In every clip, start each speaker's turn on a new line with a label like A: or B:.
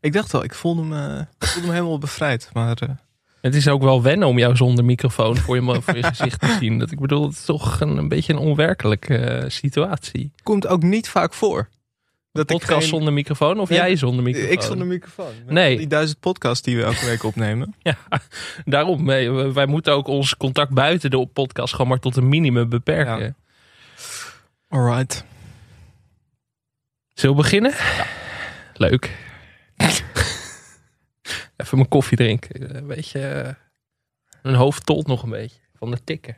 A: Ik dacht al, ik voelde me, ik voelde me helemaal bevrijd. Maar eh,
B: Het is ook wel wennen om jou zonder microfoon voor je, mo- voor je gezicht te zien. Dat, ik bedoel, het is toch een, een beetje een onwerkelijke eh, situatie.
A: komt ook niet vaak voor. Dat
B: Podcast
A: geen-
B: zonder microfoon of
A: Ja,
B: jij zonder microfoon?
A: Ik zonder microfoon. Met
B: Nee.
A: al Die duizend podcasts die we elke week opnemen.
B: Ja, daarom. eh, we- Wij moeten ook ons contact buiten de podcast gewoon maar tot een minimum beperken.
A: Ja. Alright.
B: Zullen we beginnen? Leuk. Even mijn koffie drinken. Een beetje. eh, Mijn hoofd tolt nog een beetje van de tikken.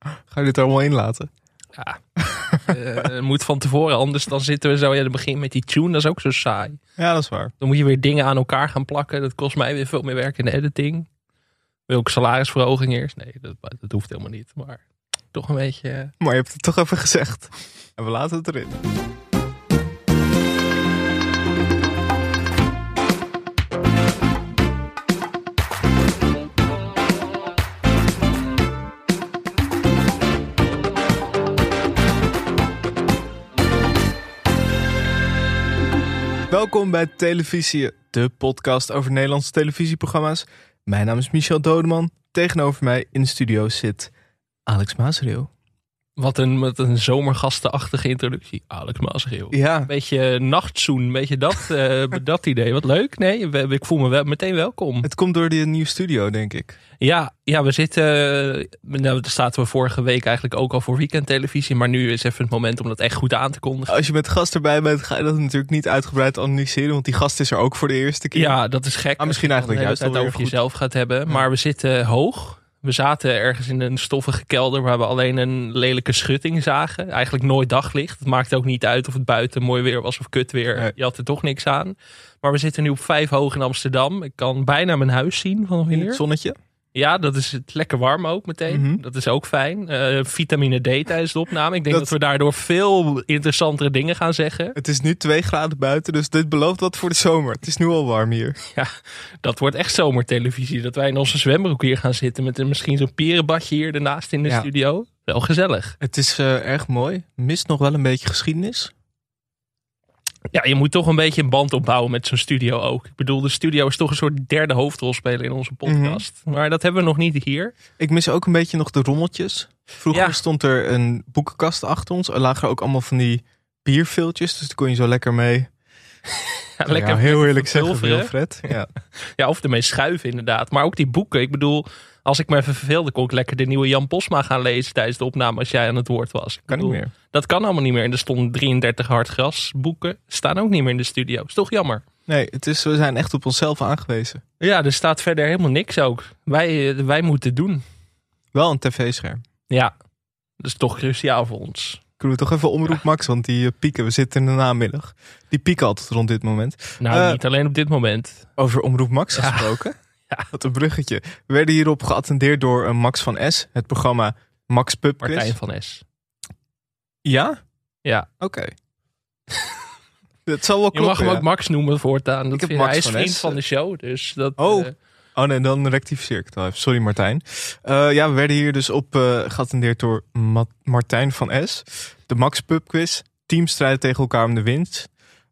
A: Ga je dit er allemaal in laten?
B: Ja. Eh, moet van tevoren, anders dan zitten we zo in het begin met die tune. Dat is ook zo saai.
A: Ja, dat is waar.
B: Dan moet je weer dingen aan elkaar gaan plakken. Dat kost mij weer veel meer werk in de editing. Wil ik salarisverhoging eerst? Nee, dat, dat hoeft helemaal niet. Maar toch een beetje. eh,
A: Maar je hebt het toch even gezegd. En we laten het erin. Welkom bij Televisie, de podcast over Nederlandse televisieprogramma's. Mijn naam is Michel Dodeman. Tegenover mij in de studio zit Alex Maasreel.
B: Wat een, wat een zomergastenachtige introductie. Alex Maasgeel.
A: Ja,
B: Een beetje nachtzoen, een beetje dat, eh, dat idee. Wat leuk. Nee, we- ik voel me wel, meteen welkom.
A: het komt door die nieuwe studio, denk ik.
B: Ja, ja we zitten. eh, Nou, daar zaten we vorige week eigenlijk ook al voor weekendtelevisie. Maar nu is even het moment om dat echt goed aan te kondigen.
A: Als je met gast erbij bent, ga je dat natuurlijk niet uitgebreid analyseren, want die gast is er ook voor de eerste keer.
B: Ja, dat is gek.
A: Ah, misschien
B: als je dan
A: eigenlijk
B: de hele
A: juist
B: tijd
A: alweer
B: over
A: goed.
B: jezelf gaat hebben. Maar we zitten hoog. We zaten ergens in een stoffige kelder waar we alleen een lelijke schutting zagen. Eigenlijk nooit daglicht. Het maakt ook niet uit of het buiten mooi weer was of kut weer.
A: Nee.
B: Je had er toch niks aan. Maar we zitten nu op vijf hoog in Amsterdam. Ik kan bijna mijn huis zien vanaf
A: in het
B: hier.
A: zonnetje.
B: Ja, dat is het lekker warm ook meteen.
A: Mhm.
B: Dat is ook fijn. Eh, vitamine D tijdens de opname. Ik denk dat...
A: Dat-
B: we daardoor veel interessantere dingen gaan zeggen.
A: Het is nu 2 graden buiten, dus dit belooft wat voor de zomer. Het is nu al warm hier.
B: Dat wordt echt zomertelevisie. Dat wij in onze zwembroek hier gaan zitten. Met een, misschien zo'n pierenbadje hier ernaast in de
A: Ja.
B: studio. Wel gezellig.
A: Het is eh, erg mooi. Mist nog wel een beetje geschiedenis.
B: Ja, je moet toch een beetje een band opbouwen met zo'n studio ook. Ik bedoel, de studio is toch een soort derde hoofdrolspeler in onze podcast.
A: Mhm.
B: Maar dat hebben we nog niet hier.
A: Ik mis ook een beetje nog de rommeltjes. Vroeger
B: Ja.
A: stond er een boekenkast achter ons. Er lagen ook allemaal van die bierviltjes, dus daar kon je zo lekker mee.
B: Ja, lekker
A: Ja, heel eerlijk zeggen,
B: verpulveren.
A: Wilfred. Ja.
B: Ja, of ermee schuiven inderdaad. Maar ook die boeken. Ik bedoel, als ik me even verveelde, kon ik lekker de nieuwe Jan Posma gaan lezen tijdens de opname als jij aan het woord was. Ik
A: Kan niet
B: bedoel,
A: meer.
B: Dat kan allemaal niet meer. En er stonden 33 hardgras boeken. Staan ook niet meer in de studio. Is toch jammer.
A: Nee, het is, we zijn echt op onszelf aangewezen.
B: Ja, er staat verder helemaal niks ook. Wij, eh, wij moeten het doen.
A: Wel een tv-scherm.
B: Ja, dat is toch cruciaal voor ons.
A: Kunnen we toch even omroep Max, want die eh, pieken, we zitten in de namiddag. Die pieken altijd rond dit moment.
B: Nou,
A: Eh,
B: niet alleen op dit moment.
A: Over omroep Max
B: Ja.
A: gesproken.
B: Ja.
A: Wat een bruggetje. We werden hierop geattendeerd door eh, Max van S, het programma Max Pub Quiz.
B: Martijn van S.
A: Ja?
B: Ja.
A: Oké. dat zal wel
B: Je
A: kloppen.
B: mag hem
A: ja.
B: ook Max noemen voortaan. Dat
A: Ik heb
B: vind-
A: Max
B: hij is
A: van
B: vriend
A: S.
B: van de show. Dus dat,
A: Oh.
B: eh,
A: Oh nee, dan rectificeer ik het wel even. Sorry Martijn. Eh, ja, we werden hier dus op eh, geattendeerd door Ma- Martijn van S. De Max Pub Quiz. Teamstrijden tegen elkaar om de winst.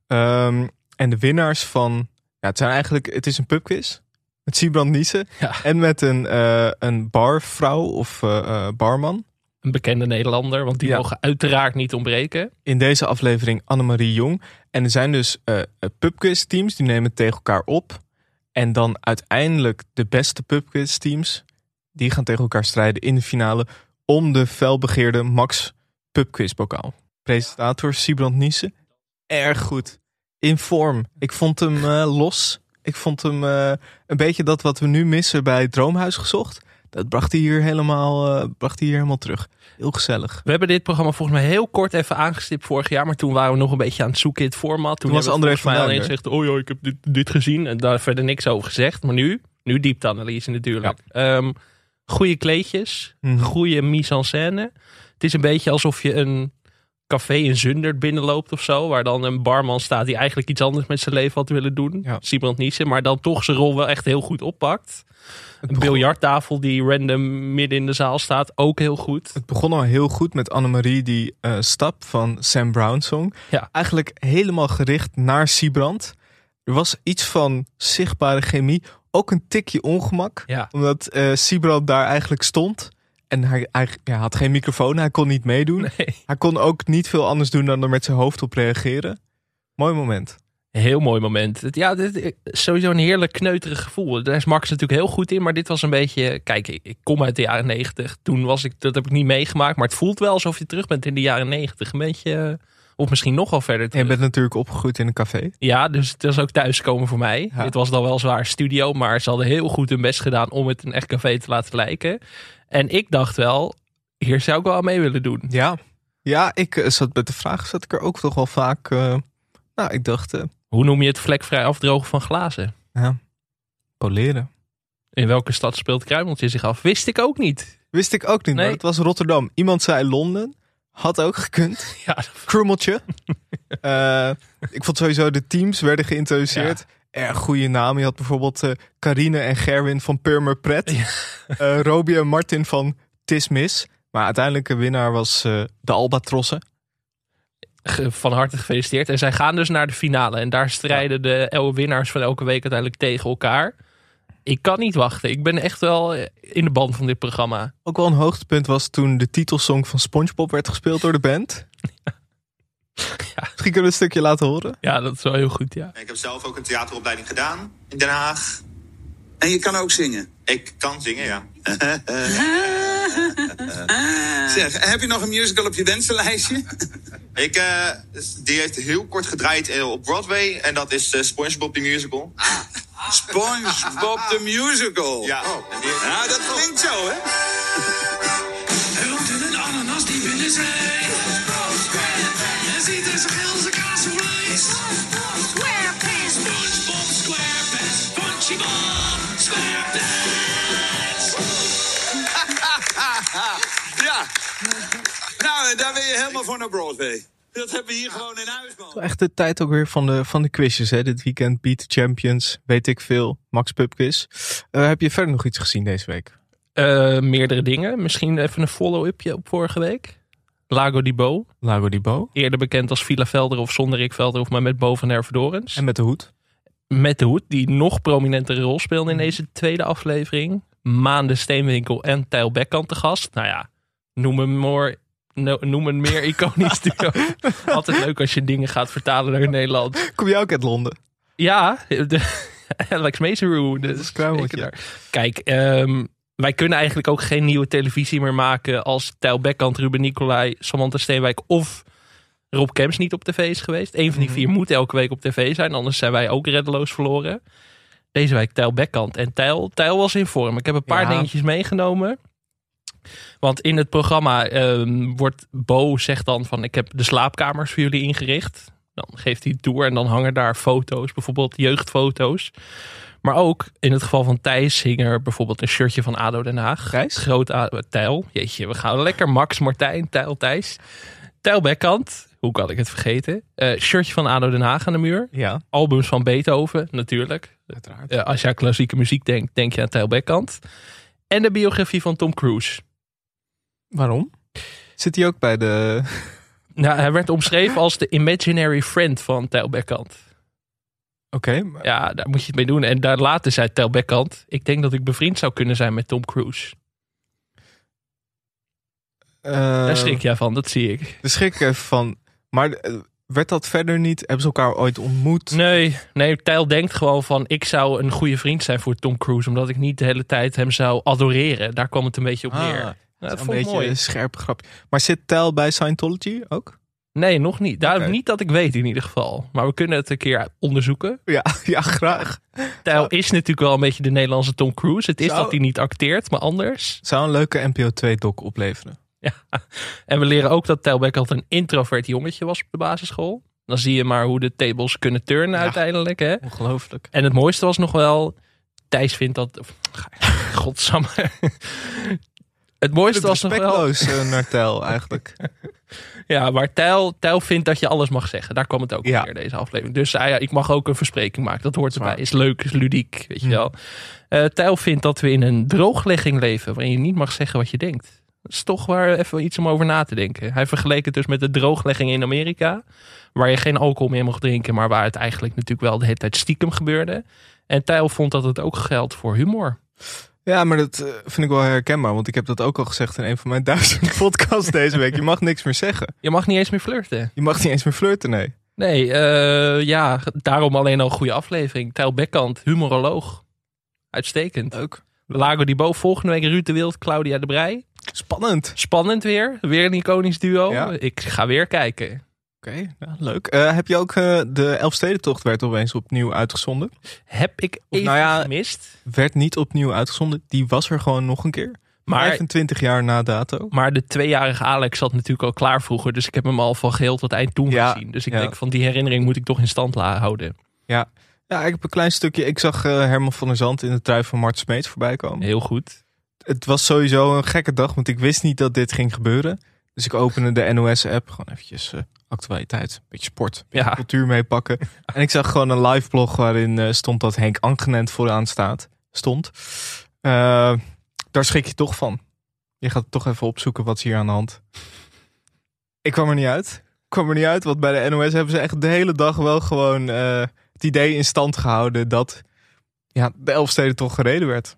A: Ehm, en de winnaars van... Ja, het, zijn eigenlijk, het is een pubquiz. Met Siebrand Niessen.
B: Ja.
A: En met een, eh, een barvrouw of eh, eh, barman.
B: een bekende Nederlander. Want die
A: Ja.
B: mogen uiteraard niet ontbreken.
A: In deze aflevering Annemarie Jong. En er zijn dus eh eh, pubquiz teams. Die nemen het tegen elkaar op. En dan uiteindelijk de beste pubquiz teams. Die gaan tegen elkaar strijden in de finale. Om de felbegeerde Max pubquiz bokaal. Presentator Siebrand Niessen. Erg goed. In vorm. Ik vond hem eh, los. Ik vond hem eh, een beetje dat wat we nu missen bij Droomhuis gezocht. Dat bracht hij hier helemaal, eh, bracht hij hier helemaal terug. Heel gezellig.
B: We hebben dit programma volgens mij heel kort even aangestipt vorig jaar. Maar toen waren we nog een beetje aan het zoeken in het format. Toen,
A: Toen was
B: hebben we
A: André
B: volgens mij
A: van
B: alleen gezegd, oh ja, ik heb dit, dit gezien. En daar verder niks over gezegd. Maar nu, nu diepteanalyse natuurlijk. Ehm, goede kleedjes,
A: Mhm.
B: goede mise en scène. Het is een beetje alsof je een café in Zundert binnenloopt of zo. Waar dan een barman staat die eigenlijk iets anders met zijn leven had willen doen.
A: Ja.
B: Simon Niesen. Maar dan toch zijn rol wel echt heel goed oppakt. Een
A: begon-
B: biljarttafel die random midden in de zaal staat. Ook heel goed.
A: Het begon al heel goed met Annemarie, die eh, stap van Sam Brown song.
B: Ja.
A: Eigenlijk helemaal gericht naar Siebrand. Er was iets van zichtbare chemie. Ook een tikje ongemak.
B: Ja.
A: Omdat eh Siebrand daar eigenlijk stond. En hij, hij ja, had geen microfoon, hij kon niet meedoen.
B: Nee.
A: Hij kon ook niet veel anders doen dan er met zijn hoofd op reageren. Mooi moment.
B: Heel mooi moment. Het- Ja, dit is sowieso een heerlijk kneuterig gevoel. Daar is Max natuurlijk heel goed in, maar dit was een beetje... Kijk, ik ik kom uit de jaren negentig. Toen was ik... Dat heb ik niet meegemaakt, maar het voelt wel alsof je terug bent in de jaren negentig. Een beetje... eh, Of misschien nogal verder
A: En je
B: terug.
A: bent natuurlijk opgegroeid in een café.
B: Ja, dus het was ook thuiskomen voor mij.
A: Ja.
B: Dit was dan wel zwaar studio, maar ze hadden heel goed hun best gedaan om het een echt café te laten lijken. En ik dacht wel, hier zou ik wel aan mee willen doen.
A: Ja. Ja, ik eh, zat met de vraag, zat ik er ook toch wel vaak... eh, nou, ik dacht, eh,
B: Hoe noem je het vlekvrij afdrogen van glazen?
A: poleren.
B: In welke stad speelt Kruimeltje zich af? Wist ik ook niet.
A: Wist ik ook niet,
B: Nee.
A: maar het was Rotterdam. Iemand zei Londen. Had ook gekund.
B: Ja, dat
A: Krummeltje. Eh, ik vond sowieso de teams werden geïntroduceerd. Erg goede naam. Je had bijvoorbeeld eh, Carine en Gerwin van Purmer Pret.
B: Ja.
A: Eh, Robbie en Martin van Tismis. Maar uiteindelijk de winnaar was eh, de Albatrossen.
B: Ge- van harte gefeliciteerd. En zij gaan dus naar de finale. En daar strijden de el- winnaars van elke week uiteindelijk tegen elkaar. Ik kan niet wachten. Ik ben echt wel eh, in de band van dit programma.
A: Ook wel een hoogtepunt was toen de titelsong van Spongebob werd gespeeld door de band. Misschien kunnen we een stukje laten horen.
B: Ja, dat is wel heel goed, ja.
C: Ik heb zelf ook een theateropleiding gedaan in Den Haag.
D: En je kan ook zingen.
C: Ik kan zingen, ja.
D: Zeg, heb je nog een musical op je wensenlijstje?
C: Ik, eh, die heeft heel kort gedraaid eh, op Broadway. En dat is eh, SpongeBob the Musical.
D: SpongeBob the Musical.
C: Ja. En die heeft-
D: Nou, dat klinkt zo, hè?
E: Hulp in een ananas die binnen zijn. En ziet er zijn geel zijn kaas voor vlees. SpongeBob SquarePants. SpongeBob SquarePants.
D: Ja. Nou, en daar ben je helemaal voor naar Broadway. Dat hebben we hier gewoon in huis, man.
A: Echt de tijd ook weer van de, van de quizjes. Hè? Dit weekend Beat the Champions, weet ik veel, Max Pubquiz. Eh, heb je verder nog iets gezien deze week?
B: Eh, meerdere dingen. Misschien even een follow-upje op vorige week. Lago di Bo.
A: Lago di Bo.
B: Eerder bekend als Villa Velder of zonder Rick Velder of maar met Bo van Hervedorens.
A: En met de hoed.
B: Met de hoed, die nog prominentere rol speelde in deze tweede aflevering. Maanden Steenwinkel en Tijl Bekkant te gast. Nou ja, noem een, more, no- noem een meer iconisch duo. Altijd leuk als je dingen gaat vertalen naar Nederland.
A: Kom jij ook uit Londen?
B: Ja, de, Alex Mesereau. Dat is
A: Kruimeltje.
B: zeker daar. Kijk, ehm, wij kunnen eigenlijk ook geen nieuwe televisie meer maken... als Tijl Bekkant, Ruben Nicolai, Samantha Steenwijk of... Rob Kemps niet op tv is geweest. Eén van die vier moet elke week op tv zijn. Anders zijn wij ook reddeloos verloren. Deze week Tijl Bekkant. En Tijl, Tijl was in vorm. Ik heb een paar
A: Ja.
B: dingetjes meegenomen. Want in het programma ehm, wordt Bo zegt dan van... ik heb de slaapkamers voor jullie ingericht. Dan geeft hij een tour en dan hangen daar foto's. Bijvoorbeeld jeugdfoto's. Maar ook in het geval van Thijs hing er bijvoorbeeld een shirtje van ADO Den Haag.
A: Gijs?
B: Groot A- Tijl. Jeetje, we gaan lekker. Max, Martijn, Tijl, Thijs. Tijl Bekkant. Hoe kan ik het vergeten? Eh, shirtje van ADO Den Haag aan de muur.
A: Ja,
B: Albums van Beethoven, natuurlijk.
A: uiteraard.
B: Eh, als je aan klassieke muziek denkt, denk je aan Tijl Bekkant. En de biografie van Tom Cruise.
A: Waarom? Zit hij ook bij de...
B: Nou, hij werd omschreven als de imaginary friend van Tijl Bekkant.
A: Oké, maar-
B: Ja, daar moet je het mee doen. En daar later zei Tel Bekkant... ik denk dat ik bevriend zou kunnen zijn met Tom Cruise.
A: eh,
B: Daar schrik jij van, dat zie ik.
A: Daar schrik ik even van. Maar eh, werd dat verder niet? Hebben ze elkaar ooit ontmoet?
B: Nee, nee, Tijl denkt gewoon van... ik zou een goede vriend zijn voor Tom Cruise... omdat ik niet de hele tijd hem zou adoreren. Daar kwam het een beetje op
A: Ah,
B: neer. Nou,
A: dat is
B: dat
A: een
B: vond ik
A: beetje
B: mooi.
A: een scherp grapje. Maar zit Tel bij Scientology ook?
B: Nee, nog niet. Daar,
A: Oké.
B: Niet dat ik weet in ieder geval. Maar we kunnen het een keer onderzoeken.
A: Ja, ja graag.
B: Tijl is natuurlijk wel een beetje de Nederlandse Tom Cruise. Het is
A: Zou-
B: dat hij niet acteert, maar anders.
A: Zou een leuke NPO2-doc opleveren.
B: En we leren ook dat Tijl Bekkant een introvert jongetje was op de basisschool. Dan zie je maar hoe de tables kunnen turnen
A: Ja.
B: uiteindelijk. Hè?
A: Ongelooflijk.
B: En het mooiste was nog wel... Thijs vindt dat... of, Godsamme. Het mooiste was nog wel...
A: Respectloos eh, naar Tel eigenlijk.
B: Ja, maar Tijl, Tijl vindt dat je alles mag zeggen. Daar kwam het ook
A: Ja.
B: weer, deze aflevering. Dus ah ja, ik mag ook een verspreking maken. Dat hoort erbij.
A: Zwaar. Hm.
B: Is leuk, is ludiek, weet je wel. Eh Tijl vindt dat we in een drooglegging leven... waarin je niet mag zeggen wat je denkt. Dat is toch waar even iets om over na te denken. Hij vergeleek het dus met de drooglegging in Amerika... waar je geen alcohol meer mocht drinken... maar waar het eigenlijk natuurlijk wel de hele tijd stiekem gebeurde. En Tijl vond dat het ook geldt voor humor.
A: Ja, maar dat eh, vind ik wel herkenbaar. Want ik heb dat ook al gezegd in een van mijn duizend podcasts deze week. Je mag niks meer zeggen.
B: Je mag niet eens meer flirten.
A: Je mag niet eens meer flirten, nee.
B: Nee, eh, ja, daarom alleen al een goede aflevering. Tijl Bekkant, humoroloog. Uitstekend.
A: Ook.
B: Lago di Bo, volgende week Ruud de Wild, Claudia de Brij.
A: Spannend.
B: Spannend weer. Weer een iconisch duo.
A: Ja.
B: Ik ga weer kijken.
A: Oké, ja, leuk. Eh, heb je ook eh, de Elfstedentocht werd opeens opnieuw uitgezonden?
B: Heb ik
A: Of
B: even
A: nou ja,
B: gemist.
A: Werd niet opnieuw uitgezonden. Die was er gewoon nog een keer.
B: Maar,
A: 25 jaar na dato.
B: maar de tweejarige Alex zat natuurlijk al klaar vroeger. Dus ik heb hem al van geheel tot eind toen
A: Ja,
B: gezien. Dus ik
A: ja.
B: denk van die herinnering moet ik toch in stand la- houden.
A: Ja, ik heb een klein stukje. Ik zag eh, Herman van der Zand in de trui van Mart Smeets voorbij komen.
B: Heel goed.
A: Het was sowieso een gekke dag, want ik wist niet dat dit ging gebeuren. Dus ik opende de NOS-app, gewoon eventjes eh, actualiteit, een beetje sport, een beetje
B: Ja.
A: cultuur meepakken. En ik zag gewoon een live blog waarin eh, stond dat Henk Angenent vooraan staat, stond. Eh, daar schrik je toch van. Je gaat toch even opzoeken wat is hier aan de hand. Ik kwam er niet uit. Ik kwam er niet uit, want bij de NOS hebben ze echt de hele dag wel gewoon eh, het idee in stand gehouden dat ja, de Elfsteden toch gereden werd.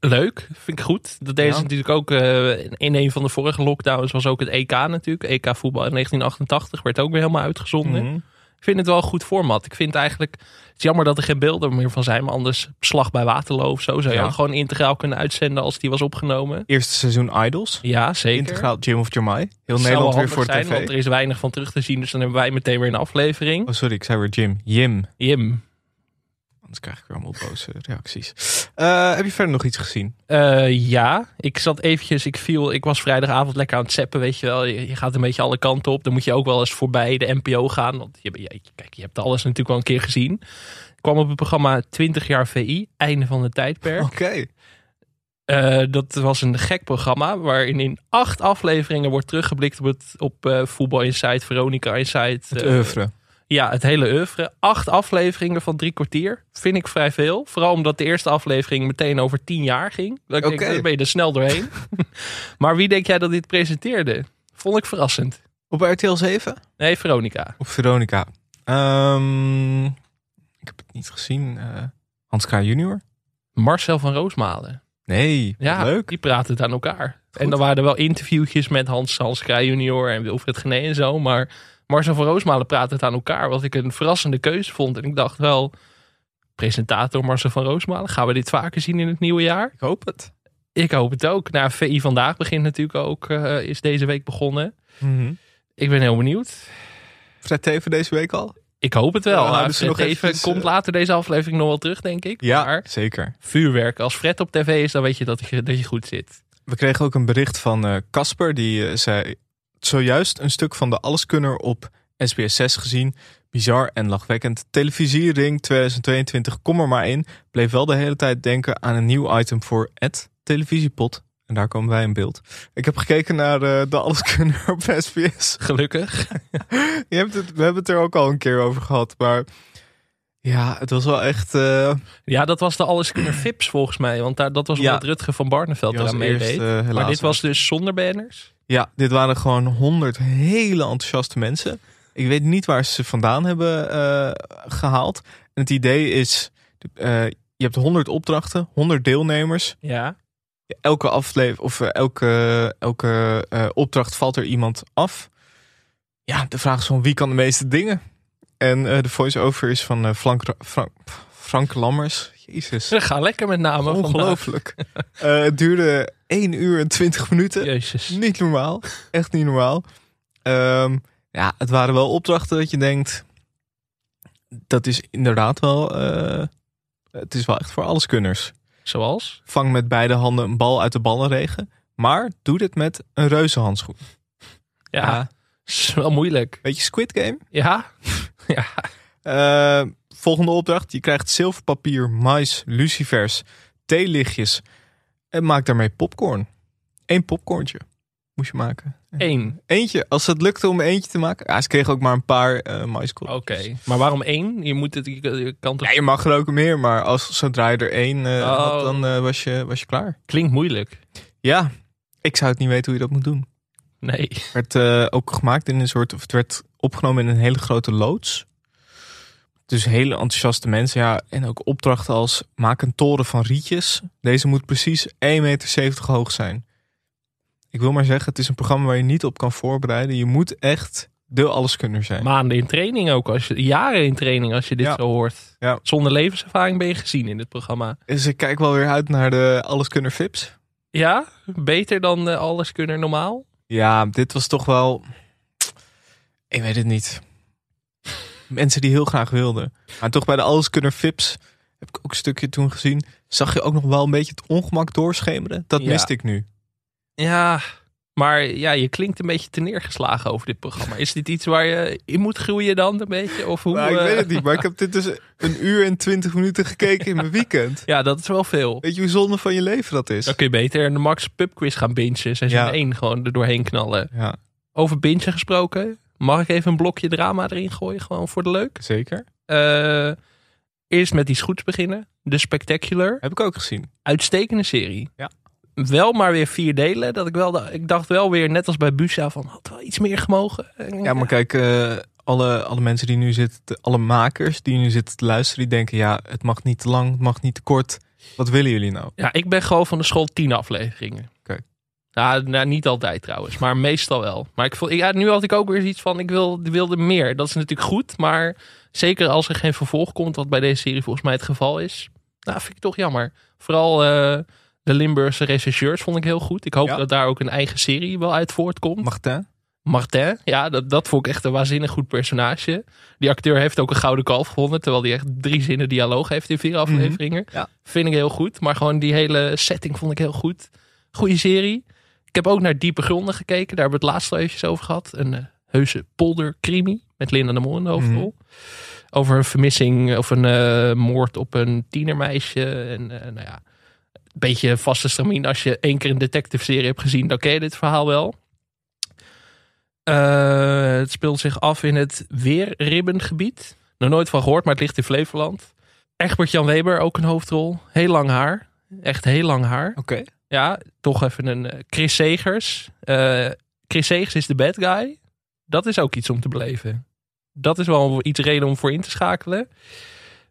B: Leuk, vind ik goed. Dat deden
A: Ja.
B: ze natuurlijk ook eh, in een van de vorige lockdowns was ook het EK natuurlijk. EK voetbal in 1988 werd ook weer helemaal uitgezonden.
A: Mhm.
B: Ik vind het wel een goed format. Ik vind eigenlijk, het is jammer dat er geen beelden meer van zijn, maar anders Slag bij Waterloo of zo zou je
A: Ja.
B: ook gewoon integraal kunnen uitzenden als die was opgenomen.
A: Eerste seizoen Idols.
B: Ja, zeker.
A: Integraal Jim of Jamai. Heel
B: Zou wel
A: Nederland weer
B: handig
A: voor
B: zijn,
A: tv.
B: Want er is weinig van terug te zien, dus dan hebben wij meteen weer een aflevering.
A: Oh, sorry, ik zei weer Jim. Jim.
B: Jim,
A: Anders krijg ik weer allemaal boze reacties. Eh, heb je verder nog iets gezien?
B: Eh, ja, ik zat eventjes, ik viel, ik was vrijdagavond lekker aan het zappen, weet je wel. Je, je gaat een beetje alle kanten op. Dan moet je ook wel eens voorbij de NPO gaan. Want je, je- kijk, je hebt alles natuurlijk wel een keer gezien. Ik kwam op het programma 20 jaar VI, einde van het tijdperk.
A: Oké.
B: Eh, dat was een gek programma waarin in acht afleveringen wordt teruggeblikt op, het, op eh, Voetbal Insight, Veronica Insight.
A: Het
B: eh,
A: oeuvre.
B: ja, het hele oeuvre. Acht afleveringen van drie kwartier vind ik vrij veel. Vooral omdat de eerste aflevering meteen over tien jaar ging. Dan denk ik,
A: Oké.
B: dan ben je er snel doorheen. maar wie denk jij dat dit presenteerde? Vond ik verrassend.
A: Op RTL 7?
B: Nee, Veronica.
A: Op Veronica. Ehm, ik heb het niet gezien. Eh, Hans K. junior?
B: Marcel van Roosmalen.
A: Nee, wat
B: Ja,
A: leuk.
B: die praten het aan elkaar. En dan waren er wel interviewtjes met Hans, Hans Kraaij junior en Wilfred Gené en zo. Maar Marcel van Roosmalen praat het aan elkaar. Wat ik een verrassende keuze vond. En ik dacht wel, presentator Marcel van Roosmalen. Gaan we dit vaker zien in het nieuwe jaar?
A: Ik hoop het.
B: Ik hoop het ook. Nou, VI Vandaag begint natuurlijk ook, eh, is deze week begonnen. Mhm. Ik ben heel benieuwd.
A: Fred Teven deze week al?
B: Ik hoop het wel.
A: Ja,
B: Nou,
A: dus
B: Fred
A: nog
B: even,
A: eventjes,
B: komt
A: eh,
B: later deze aflevering nog wel terug, denk ik.
A: Ja,
B: Maar
A: zeker.
B: vuurwerk. Als Fred op tv is, dan weet je dat je, dat je goed zit.
A: We kregen ook een bericht van eh, Casper. die eh, zei zojuist een stuk van de Alleskunner op SBS6 gezien. Bizar en lachwekkend. Televisiering 2022, kom er maar in. Bleef wel de hele tijd denken aan een nieuw item voor het televisiepot. En daar komen wij in beeld. Ik heb gekeken naar eh, de Alleskunner op SBS.
B: Gelukkig.
A: Je hebt het, we hebben het er ook al een keer over gehad. Maar ja, het was wel echt... eh,
B: Ja, dat was de alleskunner Vips volgens mij. Want daar, dat was
A: Ja.
B: omdat Rutger van Barneveld
A: die was
B: eraan meedeed.
A: eerst, eh, helaas
B: maar dit
A: nog.
B: was dus zonder banners.
A: Ja, dit waren gewoon honderd hele enthousiaste mensen. Ik weet niet waar ze ze vandaan hebben eh, gehaald. En het idee is, eh, je hebt honderd opdrachten, honderd deelnemers.
B: Ja.
A: Elke aflevering of eh, elke, elke eh, opdracht valt er iemand af. Ja, de vraag is van wie kan de meeste dingen? En eh, de voice-over is van eh, Frank, Ra- Frank, Frank Lammers. Jezus,
B: Ze gaan lekker met name. vandaag.
A: ongelooflijk. Eh, het duurde 1 uur en 20 minuten.
B: Jezus.
A: Niet normaal. Echt niet normaal. Ehm, ja, het waren wel opdrachten dat je denkt. Dat is inderdaad wel. eh, het is wel echt voor alleskunners.
B: Zoals?
A: Vang met beide handen een bal uit de ballenregen. Maar doe dit met een reuzenhandschoen.
B: Ja. Is wel moeilijk.
A: Weet je, Squid Game?
B: Ja.
A: Eh, volgende opdracht. Je krijgt zilverpapier, mais, lucifers, theelichtjes. En maak daarmee popcorn. Eén popcornje moest je maken.
B: Eén.
A: Eentje. Als het lukte om eentje te maken. Ja, ze kregen ook maar een paar eh
B: Oké.
A: maiskorrels.
B: Maar waarom één? Je moet het. Je, je kan toch...
A: Ja, je mag er ook meer, maar als, zodra je er één eh,
B: Oh.
A: had, dan eh, was, je, was je klaar.
B: Klinkt moeilijk.
A: Ja, ik zou het niet weten hoe je dat moet doen.
B: Nee.
A: Het werd eh, ook gemaakt in een soort, of het werd opgenomen in een hele grote loods. Dus hele enthousiaste mensen, ja. En ook opdrachten als, maak een toren van rietjes. Deze moet precies 1,70 meter hoog zijn. Ik wil maar zeggen, het is een programma waar je niet op kan voorbereiden. Je moet echt de alleskunner zijn.
B: Maanden in training ook. Als je, jaren in training als je dit
A: Ja.
B: zo hoort.
A: Ja.
B: Zonder levenservaring ben je gezien in dit programma.
A: Dus ik kijk wel weer uit naar de alleskunner Fips.
B: Ja? Beter dan eh, alles kunnen normaal?
A: Ja, dit was toch wel. Ik weet het niet. Mensen die heel graag wilden. Maar toch bij de Alleskunner Vips heb ik ook een stukje toen gezien. Zag je ook nog wel een beetje het ongemak doorschemeren? Dat
B: Ja.
A: miste ik nu.
B: Ja, maar ja, je klinkt een beetje te neergeslagen over dit programma. Is dit iets waar je in moet groeien dan een beetje? Of hoe,
A: Nou, ik
B: eh,
A: weet het niet, maar ik heb dit dus een uur en twintig minuten gekeken in mijn weekend.
B: Ja, dat is wel veel.
A: Weet je hoe zonde van je leven dat is?
B: Dan kun je beter een Max Pubquiz gaan bingen. Seizoen
A: Ja.
B: 1 gewoon er doorheen knallen.
A: Ja,
B: Over bingen gesproken. Mag ik even een blokje drama erin gooien? Gewoon voor de leuk.
A: zeker.
B: Eh, eerst met iets goeds beginnen. The Spectacular.
A: Heb ik ook gezien.
B: Uitstekende serie.
A: Ja.
B: Wel maar weer vier delen. Dat ik, wel, da- ik dacht wel weer, net als bij Busa, van had wel iets meer gemogen.
A: Ja, maar kijk, eh, alle, alle mensen die nu zitten, te- alle makers die nu zitten te luisteren, die denken: ja, het mag niet te lang, het mag niet te kort. Wat willen jullie nou?
B: Ja, ik ben gewoon van de school tien afleveringen.
A: Oké.
B: Ja, nou, niet altijd trouwens, maar meestal wel. Maar ik voel, ja, nu had ik ook weer iets van, ik wil, wilde meer. Dat is natuurlijk goed, maar zeker als er geen vervolg komt, wat bij deze serie volgens mij het geval is. Nou, vind ik toch jammer. Vooral eh, de Limburgse rechercheurs vond ik heel goed. Ik hoop
A: Ja.
B: dat daar ook een eigen serie wel uit voortkomt.
A: Martin?
B: Martin, ja, dat, dat vond ik echt een waanzinnig goed personage. Die acteur heeft ook een gouden kalf gewonnen, terwijl hij echt drie zinnen dialoog heeft in vier afleveringen.
A: ja.
B: Vind ik heel goed, maar gewoon die hele setting vond ik heel goed. Goeie serie. Ik heb ook naar Diepe Gronden gekeken, daar hebben we het laatst al eventjes over gehad. Een eh, heuse poldercrimi met Linda de Mol in de hoofdrol. Over een vermissing of een eh, moord op een tienermeisje. En eh, nou ja, een beetje vaste stramien. Als je één keer een detective serie hebt gezien, dan ken je dit verhaal wel. Eh, het speelt zich af in het Weerribbengebied. Nog nooit van gehoord, maar het ligt in Flevoland. Egbert-Jan Weber, ook een hoofdrol. Heel lang haar. Echt heel lang haar.
A: Oké.
B: Ja, toch even een eh, Chris Segers. Eh, Chris Segers is de bad guy. Dat is ook iets om te beleven. Dat is wel iets reden om voor in te schakelen.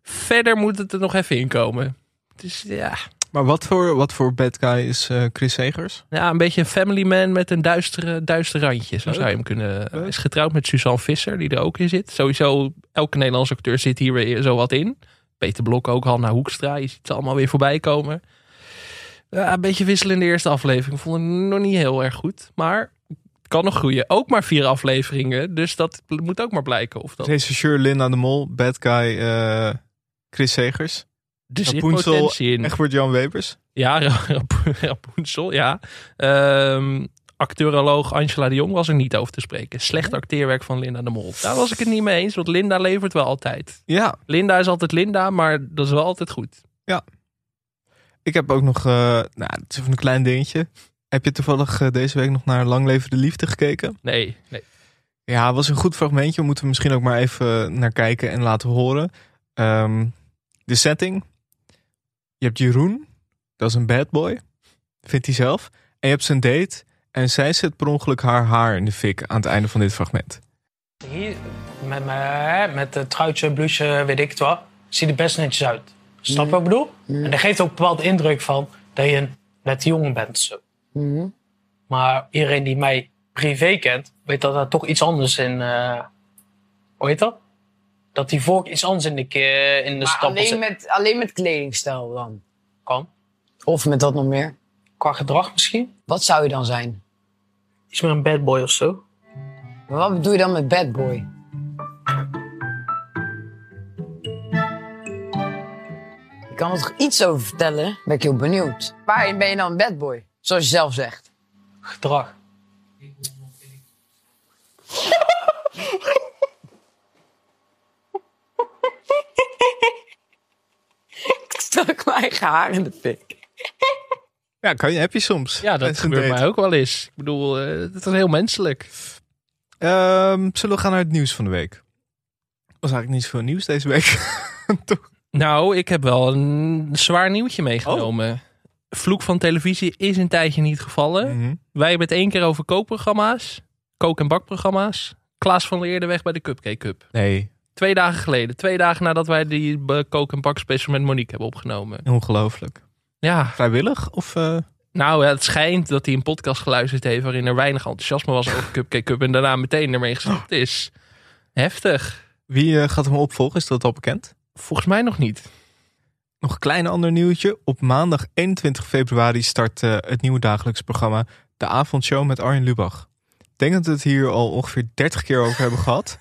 B: Verder moet het er nog even inkomen. Dus ja,
A: Maar wat voor, wat voor bad guy is eh, Chris Segers?
B: ja, een beetje een family man met een duistere, duister randje. Zo
A: Leuk.
B: zou je hem kunnen... Hij
A: Leuk.
B: is getrouwd met Suzanne Visser, die er ook in zit. Sowieso, elke Nederlandse acteur zit hier weer zo wat in. Peter Blok ook, Hanna Hoekstra. Je ziet ze allemaal weer voorbij komen. Ja, een beetje wisselende eerste aflevering. Vond ik nog niet heel erg goed. Maar het kan nog groeien. Ook maar vier afleveringen. Dus dat moet ook maar blijken. Of dat,
A: Regisseur Linda de Mol, bad guy eh, Chris Segers.
B: er zit
A: Rapunzel,
B: potentie in.
A: Egbert-Jan Webers.
B: Ja, Rap- Rapunzel, ja. Ehm acteuroloog Angela de Jong was er niet over te spreken. Slecht acteerwerk van Linda de Mol. Daar was ik het niet mee eens, want Linda levert wel altijd.
A: Ja,
B: Linda is altijd Linda, maar dat is wel altijd goed.
A: ik heb ook nog, eh, nou, het is even een klein dingetje. Heb je toevallig eh, deze week nog naar Lang Leven de Liefde gekeken?
B: Nee, nee.
A: Ja, was een goed fragmentje. Moeten we misschien ook maar even naar kijken en laten horen. Ehm, de setting. Je hebt Jeroen. Dat is een bad boy. Vindt hij zelf. En je hebt zijn date. En zij zet per ongeluk haar haar in de fik aan het einde van dit fragment.
F: Hier, met, met, met het truitje, blouseje, weet ik het wat, ziet er best netjes uit. Snap je wat ik bedoel? En dat geeft ook een bepaald indruk van dat je een nette jongen bent. Zo. Maar iedereen die mij privé kent, weet dat daar toch iets anders in... eh hoe heet dat? Dat die vork iets anders in de, ke- in de
G: Maar
F: stappel
G: alleen
F: zit.
G: met, alleen met kledingstijl dan.
F: Kan.
G: Of met dat nog meer.
F: Qua gedrag misschien.
G: Wat zou je dan zijn?
F: Iets meer een bad boy of zo.
G: Maar wat bedoel je dan met bad boy? Je kan er toch iets over vertellen? Ben ik heel benieuwd. Waarin ben je dan een bad boy? Zoals je zelf zegt.
F: Gedrag.
G: Ik stak mijn eigen haar in de fik.
A: Ja, kan je, heb je soms.
B: Ja, dat
A: Tijdens een
B: gebeurt
A: date.
B: mij ook wel eens. Ik bedoel, eh het is heel menselijk.
A: Ehm, zullen we gaan naar het nieuws van de week? was eigenlijk niet zoveel nieuws deze week. Toch?
B: Nou, ik heb wel een zwaar nieuwtje meegenomen. Vloek van televisie is een tijdje niet gevallen.
A: Mhm.
B: Wij hebben het één keer over kookprogramma's, kook- en bakprogramma's. Klaas van Leerde weg bij de Cupcake Cup.
A: Nee,
B: Twee dagen geleden, twee dagen nadat wij die eh, kook- en bak special met Monique hebben opgenomen.
A: ongelooflijk.
B: Ja,
A: Vrijwillig? Of, eh,
B: nou, ja, het schijnt dat hij een podcast geluisterd heeft waarin er weinig enthousiasme was over Cupcake Cup en daarna meteen ermee gestopt is. Heftig.
A: wie eh, gaat hem opvolgen? Is dat al bekend?
B: Volgens mij nog niet.
A: Nog een klein ander nieuwtje. Op maandag 21 februari start eh, het nieuwe dagelijks programma De Avondshow met Arjen Lubach. Ik denk dat we het hier al ongeveer 30 keer over hebben gehad.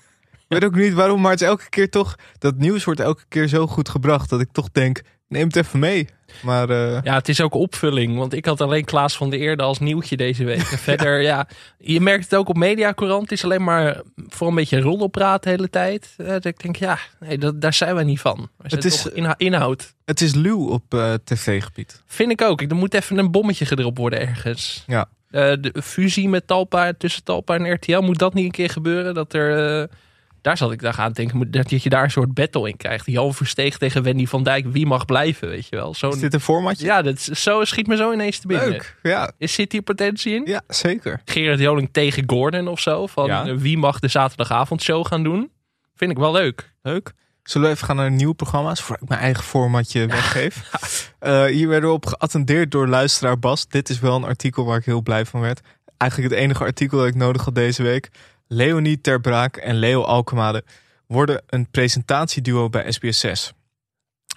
A: Ik weet ook niet waarom, maar het is elke keer toch... Dat nieuws wordt elke keer zo goed gebracht dat ik toch denk... Neem het even mee. Maar eh,
B: Ja, het is ook opvulling. Want ik had alleen Klaas van der Eerde als nieuwtje deze week. En verder, ja. Je merkt het ook op Mediacourant. Het is alleen maar voor een beetje roddelpraat de hele tijd. Eh, dat ik denk, ja, nee, dat, daar zijn wij niet van. Wij zijn
A: Het is- eh,
B: toch inha- inhoud.
A: het is luw op eh, tv-gebied.
B: Vind ik ook. Ik- Er moet even een bommetje gedropt worden ergens.
A: Ja.
B: Eh, de fusie met Talpa, tussen Talpa en RTL. Moet dat niet een keer gebeuren? Dat er... eh, daar zat ik daar aan te denken. moet- Dat je daar een soort battle in krijgt. Jan Versteeg tegen Wendy van Dijk. Wie mag blijven, weet je wel.
A: Is
B: Zo'n...
A: dit een formatje?
B: Ja, dat is- zo schiet me zo ineens te binnen.
A: Leuk. Ja,
B: Is zit hier potentie in?
A: ja zeker.
B: Gerard Joling tegen Gordon of zo. Van
A: Ja.
B: eh, wie mag de zaterdagavondshow gaan doen? Vind ik wel leuk.
A: Leuk. Zullen we even gaan naar nieuwe programma's? Voor ik mijn eigen formatje weggeef. Eh, hier werden we op geattendeerd door luisteraar Bas. Dit is wel een artikel waar ik heel blij van werd. Eigenlijk het enige artikel dat ik nodig had deze week. Leonie Terbraak en Leo Alkemade worden een presentatieduo bij SBS6.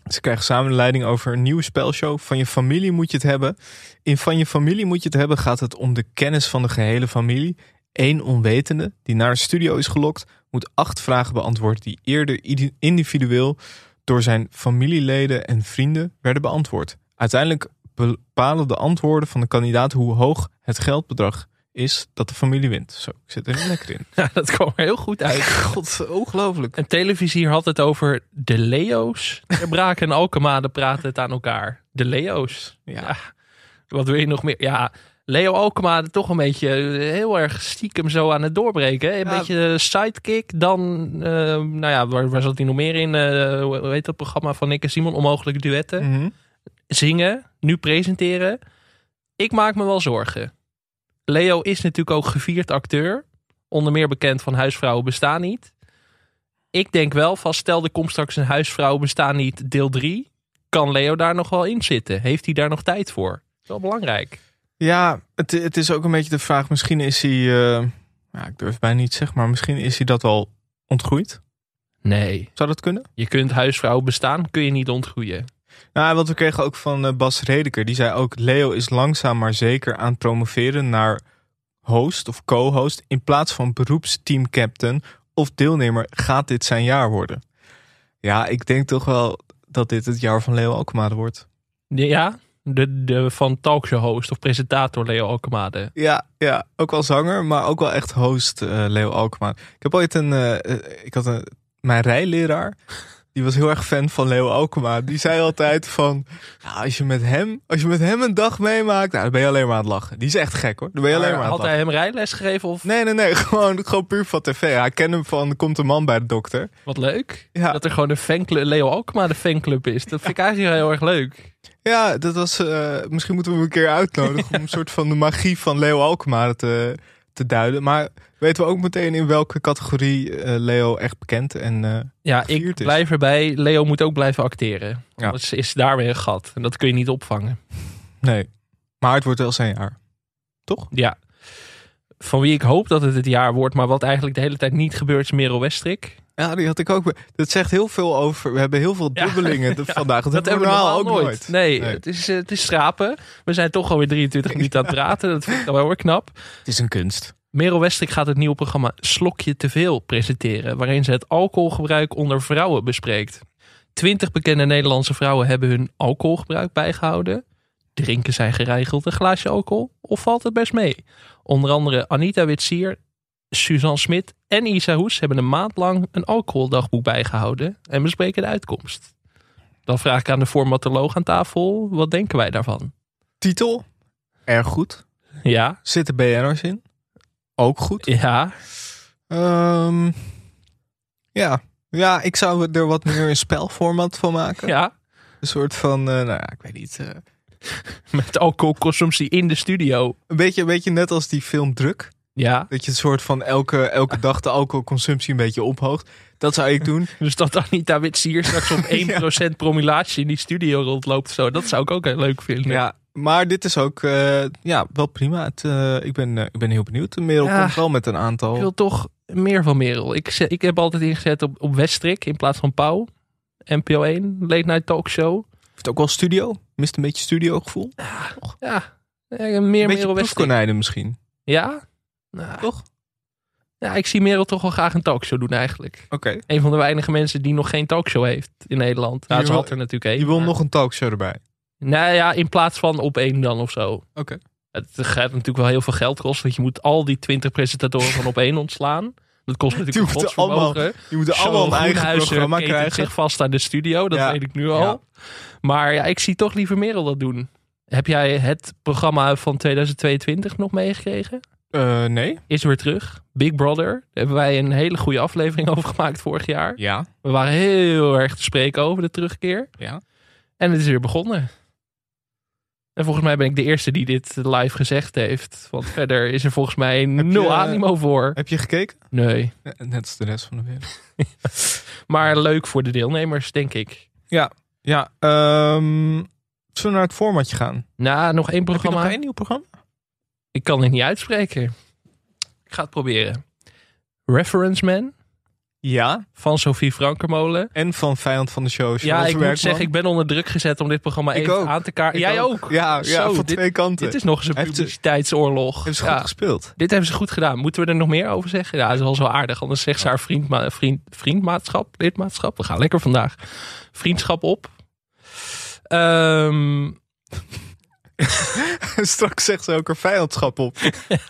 A: Ze krijgen samen de leiding over een nieuwe spelshow. Van je familie moet je het hebben. In Van je familie moet je het hebben gaat het om de kennis van de gehele familie. Eén onwetende die naar de studio is gelokt moet acht vragen beantwoorden die eerder ide- individueel door zijn familieleden en vrienden werden beantwoord. Uiteindelijk bepalen de antwoorden van de kandidaat hoe hoog het geldbedrag is dat de familie wint. Zo, ik zit er niet lekker in.
B: Ja, dat kwam er heel goed uit.
A: God, ongelooflijk.
B: En televisie had het over de Leo's. Er braken en Alkemade praten het aan elkaar. De Leo's.
A: Ja.
B: Wat wil je nog meer? Ja, Leo Alkemade toch een beetje eh, heel erg stiekem zo aan het doorbreken. hè? Een
A: Ja.
B: beetje eh, sidekick. Dan, eh, nou ja, waar, waar zat hij nog meer in? Eh, hoe hoe heet dat programma van Nick en Simon? Onmogelijke duetten.
A: Mhm.
B: zingen, nu presenteren. Ik maak me wel zorgen. Leo is natuurlijk ook gevierd acteur. Onder meer bekend van Huisvrouwen bestaan niet. Ik denk wel vast, stel er komt straks een Huisvrouwen bestaan niet deel 3. Kan Leo daar nog wel in zitten? Heeft hij daar nog tijd voor? Wel belangrijk.
A: Ja, het, het is ook een beetje de vraag. Misschien is hij, eh, ja, ik durf het bijna niet te zeggen, maar misschien is hij dat wel ontgroeid.
B: Nee.
A: Zou dat kunnen?
B: Je kunt Huisvrouwen bestaan, kun je niet ontgroeien.
A: Nou, want we kregen ook van eh, Bas Redeker. Die zei ook, Leo is langzaam maar zeker aan het promoveren naar host of co-host. In plaats van beroepsteamcaptain of deelnemer gaat dit zijn jaar worden. Ja, ik denk toch wel dat dit het jaar van Leo Alkmaar wordt.
B: Ja, de, de van talkshow host of presentator Leo Alkemade.
A: Ja, ja, ook wel zanger, maar ook wel echt host eh, Leo Alkmaar. Ik heb ooit een, eh, eh, ik had een, mijn rijleraar, die was heel erg fan van Leo Alkmaar. Die zei altijd van, nou, als je met hem, als je met hem een dag meemaakt, nou, dan ben je alleen maar aan het lachen. Die is echt gek hoor, dan ben je alleen maar aan het
B: had
A: lachen.
B: hij hem rijles gegeven of
A: Nee, nee, nee, gewoon, gewoon puur van tv. Ja, ik ken hem van, komt een man bij de dokter.
B: Wat leuk.
A: Ja.
B: Dat er gewoon een fanclub, Leo Alkema de fanclub is. Dat vind ik eigenlijk heel erg leuk.
A: Ja, dat was, eh, misschien moeten we hem een keer uitnodigen om een soort van de magie van Leo Alkmaar te, te duiden. Maar weten we ook meteen in welke categorie eh, Leo echt bekend en... eh,
B: Ja, ik
A: Gevierd is.
B: blijf erbij. Leo moet ook blijven acteren.
A: Ja.
B: Ja. ze is daar weer een gat. En dat kun je niet opvangen.
A: Nee. Maar het wordt wel zijn jaar. Toch?
B: Ja. Van wie ik hoop dat het het jaar wordt, maar wat eigenlijk de hele tijd niet gebeurt, is Merel Westrik.
A: Ja, die had ik ook. Dat zegt heel veel over. We hebben heel veel
B: Ja.
A: dubbelingen de- vandaag. Dat, hebben we normaal ook nooit.
B: Nee,
A: Nee.
B: Het, is, eh, het is schrapen. We zijn toch alweer 23 minuten aan het praten. Dat vind ik dan wel weer knap.
A: Het is een kunst.
B: Merel Westrik gaat het nieuwe programma Slokje Te Veel presenteren, waarin ze het alcoholgebruik onder vrouwen bespreekt. Twintig bekende Nederlandse vrouwen hebben hun alcoholgebruik bijgehouden. Drinken zij geregeld een glaasje alcohol of valt het best mee? Onder andere Anita Witsier, Suzanne Smit en Isa Hoes hebben een maand lang een alcoholdagboek bijgehouden en bespreken de uitkomst. Dan vraag ik aan de formatoloog aan tafel, wat denken wij daarvan?
A: Titel? Erg goed.
B: Ja,
A: Zitten BN'ers in? Ook goed.
B: ja.
A: Ehm, ja. ja, ik zou er wat meer een spelformat van maken.
B: Ja,
A: Een soort van, eh, nou ja, ik weet niet. eh,
B: met alcoholconsumptie in de studio.
A: een, beetje, een beetje net als die film Druk.
B: Ja,
A: Dat je het soort van elke, elke dag de alcoholconsumptie een beetje ophoogt. Dat zou ik doen.
B: dus dat Anita Witsier straks op 1% promillage in die studio rondloopt. Zo, dat zou ik ook heel leuk vinden.
A: Ja, maar dit is ook eh, ja, wel prima. Het, eh, ik, ben, eh, ik ben heel benieuwd. De Merel
B: Ja.
A: komt wel met een aantal.
B: Ik wil toch meer van Merel. Ik, ze- ik heb altijd ingezet op, op Westrik in plaats van Pauw. NPO 1, Late Night Talkshow.
A: Heeft ook wel studio. Mist een beetje studiogevoel. Een
B: Ja, eh,
A: beetje
B: meer Merel Westrik.
A: proefkonijnen misschien.
B: Ja? Nou,
A: Toch?
B: ja, ik zie Merel toch wel graag een talkshow doen eigenlijk.
A: Oké.
B: Een van de weinige mensen die nog geen talkshow heeft in Nederland. Nou,
A: Je
B: ze
A: wil-
B: had er natuurlijk één.
A: Je wil
B: maar-
A: nog een talkshow erbij.
B: Nou ja, in plaats van op één dan of zo.
A: Oké.
B: Het gaat natuurlijk wel heel veel geld kosten. Want je moet al die 20 presentatoren van op één ontslaan. Dat kost
A: Die
B: natuurlijk een
A: moeten allemaal,
B: godsvermogen.
A: die moeten allemaal een eigen programma
B: krijgt
A: krijgen.
B: zich vast aan de studio. Dat
A: Ja.
B: weet ik nu al. Maar ja, ik zie toch liever Merel dat doen. Heb jij het programma van 2022 nog meegekregen?
A: Eh, nee.
B: Is weer terug. Big Brother. Daar hebben wij een hele goede aflevering over gemaakt vorig jaar.
A: Ja.
B: We waren heel erg te spreken over de terugkeer.
A: Ja.
B: En het is weer begonnen. En volgens mij ben ik de eerste die dit live gezegd heeft. Want verder is er volgens mij nul
A: eh,
B: animo voor.
A: Heb je gekeken?
B: Nee.
A: Eh, Net als de rest van de wereld.
B: Maar leuk voor de deelnemers, denk ik.
A: Ja. ehm, zullen we naar het formatje gaan?
B: Nou, nog één
A: Heb je nog
B: programma.
A: één nieuw programma?
B: Ik kan het niet uitspreken. Ik ga het proberen. Reference Man
A: Ja.
B: van Sophie Frankermolen.
A: En van Vijand van de Show.
B: Ja, ik moet
A: werk
B: zeggen, ik ben onder druk gezet om dit programma
A: Ik
B: even
A: ook.
B: aan te kaarten. Jij ook.
A: Ja, ja
B: Zo,
A: van
B: dit-
A: twee kanten.
B: Dit is nog eens een
A: Hij heeft ze-
B: publiciteitsoorlog.
A: Hebben ze
B: Ja.
A: goed gespeeld.
B: Dit hebben ze goed gedaan. Moeten we er nog meer over zeggen? Ja, dat is wel zo aardig. Anders zegt ze haar vriendma vriend, vriendmaatschap, lidmaatschap. We gaan lekker vandaag. Vriendschap op. Ehm,
A: Straks zegt ze ook er vijandschap op.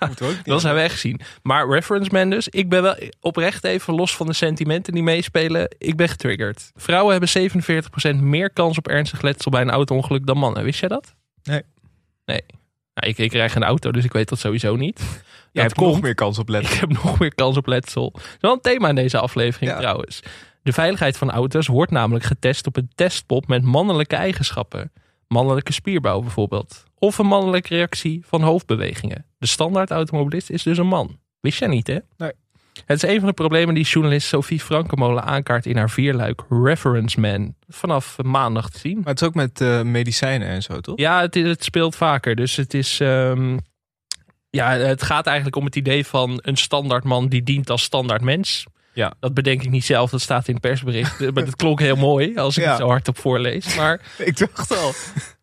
A: Moet ook niet.
B: dat zijn we echt zien. Maar Reference Man dus. Ik ben wel oprecht even los van de sentimenten die meespelen. Ik ben getriggerd. Vrouwen hebben 47% meer kans op ernstig letsel bij een auto-ongeluk dan mannen. Wist jij dat?
A: Nee.
B: Nee. Nou, ik, ik krijg een auto, dus ik weet dat sowieso niet.
A: Jij
B: Dat
A: hebt nog
B: komt.
A: meer kans op letten.
B: Ik heb nog meer kans op letsel. Dat is wel een thema in deze aflevering
A: Ja.
B: trouwens. De veiligheid van auto's wordt namelijk getest op een testpop met mannelijke eigenschappen. Mannelijke spierbouw bijvoorbeeld. Of een mannelijke reactie van hoofdbewegingen. De standaard automobilist is dus een man. Wist jij niet hè?
A: Nee.
B: Het is een van de problemen die journalist Sophie Frankemolen aankaart in haar vierluik Reference Man. Vanaf maandag te zien.
A: Maar het is ook met eh, medicijnen en zo, toch?
B: Ja, het, is- het speelt vaker. Dus het is. ehm, ja, het gaat eigenlijk om het idee van een standaard man die dient als standaard mens.
A: Ja.
B: Dat bedenk ik niet zelf, dat staat in het persbericht. maar dat klonk heel mooi als ik
A: Ja.
B: het zo hardop voorlees. Maar
A: Ik dacht al.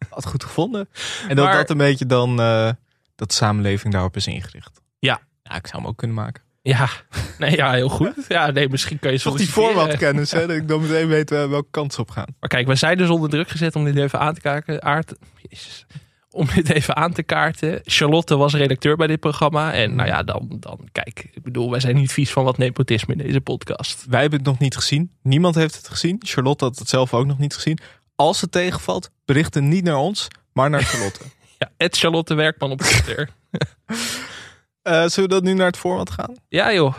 A: Had goed gevonden. En dat
B: Maar-
A: dat een beetje dan... eh, dat de samenleving daarop is ingericht.
B: Ja.
A: Ja, ik zou hem ook kunnen maken.
B: ja, nee, ja heel goed. Ja, nee, misschien kan je
A: Toch die
B: solliciteren.
A: voorwaartkennis, hè? Dat ik dan meteen weet eh, welke kant ze op gaan.
B: Maar kijk, we zijn dus onder druk gezet om dit even aan te kaarten. Aard, jezus. Om dit even aan te kaarten. Charlotte was redacteur bij dit programma. En nou ja, dan, dan kijk. Ik bedoel, wij zijn niet vies van wat nepotisme in deze podcast.
A: Wij hebben het nog niet gezien. Niemand heeft het gezien. Charlotte had het zelf ook nog niet gezien. Als het tegenvalt, berichten niet naar ons, maar naar Charlotte.
B: Ja, Ed Charlotte Werkman op Twitter.
A: Eh, zullen we dat nu naar het format gaan?
B: ja joh,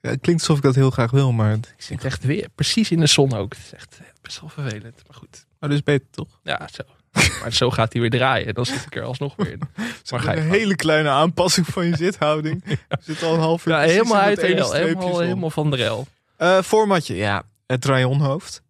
A: Ja, het klinkt alsof ik dat heel graag wil, maar het
B: ik zit echt weer precies in de zon ook. Het is echt eh, best wel vervelend, maar goed.
A: maar dat is beter, toch?
B: Ja, zo. Maar zo gaat hij weer draaien, dan zit ik er alsnog weer in.
A: Ze
B: ga je
A: hebben een
B: gang.
A: hele kleine aanpassing van je zithouding. Je zit al een half uur
B: Ja,
A: precies
B: helemaal
A: op
B: uit
A: het
B: de
A: ene
B: rel,
A: streepje
B: helemaal,
A: zon.
B: helemaal van de rel.
A: Eh, formatje, ja. Het rajonhoofd.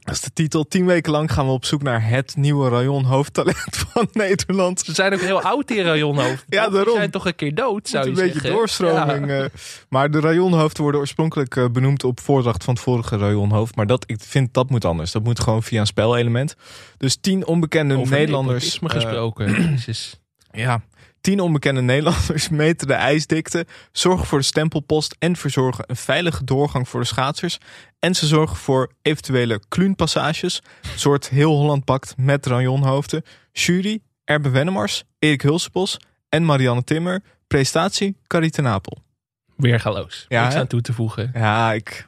A: Dat is de titel. Tien weken lang gaan we op zoek naar het nieuwe rajonhoofdtalent van Nederland.
B: Ze zijn ook heel oud, die rajonhoofd.
A: Ja,
B: Ze
A: daarom.
B: zijn toch een keer dood,
A: Moet
B: zou je
A: een beetje
B: zeggen.
A: doorstroming.
B: Ja.
A: eh. maar de rajonhoofden worden oorspronkelijk eh, benoemd op voordracht van het vorige rajonhoofd. Maar dat, ik vind dat moet anders. Dat moet gewoon via een spelelement. Dus tien onbekende
B: Over
A: Nederlanders.
B: nepotisme
A: eh,
B: gesproken. Jezus.
A: Ja. Tien onbekende Nederlanders meten de ijsdikte, zorgen voor de stempelpost en verzorgen een veilige doorgang voor de schaatsers. En ze zorgen voor eventuele kluunpassages, een soort heel Holland pakt met rajonhoofden. Jury, Erbe Wennemars, Erik Hulsebos en Marianne Timmer. Prestatie, Carrie ten Apel.
B: Weergaloos.
A: Ja,
B: Niks
A: hè?
B: aan toe te voegen.
A: Ja, ik,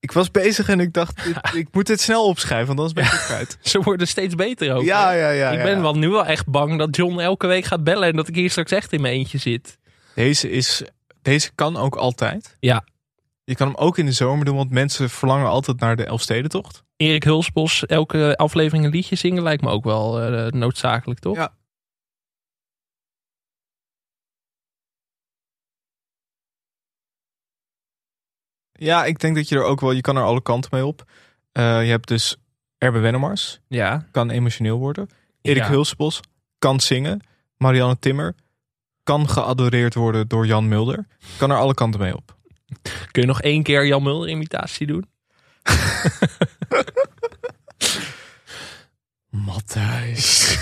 A: Ik was bezig en ik dacht, dit- ik moet dit snel opschrijven, want anders ben ik het kwijt.
B: Ze worden steeds beter ook.
A: Ja, ja, ja.
B: ik
A: ja,
B: ben
A: ja.
B: wel nu wel echt bang dat John elke week gaat bellen en dat ik hier straks echt in mijn eentje zit.
A: Deze, is, deze kan ook altijd.
B: Ja.
A: Je kan hem ook in de zomer doen, want mensen verlangen altijd naar de Elfstedentocht.
B: Erik Hulsbos elke aflevering een liedje zingen lijkt me ook wel eh, noodzakelijk, toch?
A: Ja. Ja, ik denk dat je er ook wel, je kan er alle kanten mee op. Eh, je hebt dus Erbe Wennemars,
B: Ja.
A: kan emotioneel worden. Erik
B: Ja.
A: Hulsbos kan zingen. Marianne Timmer kan geadoreerd worden door Jan Mulder. Kan er alle kanten mee op.
B: Kun je nog één keer Jan Mulder imitatie doen?
A: Matthijs.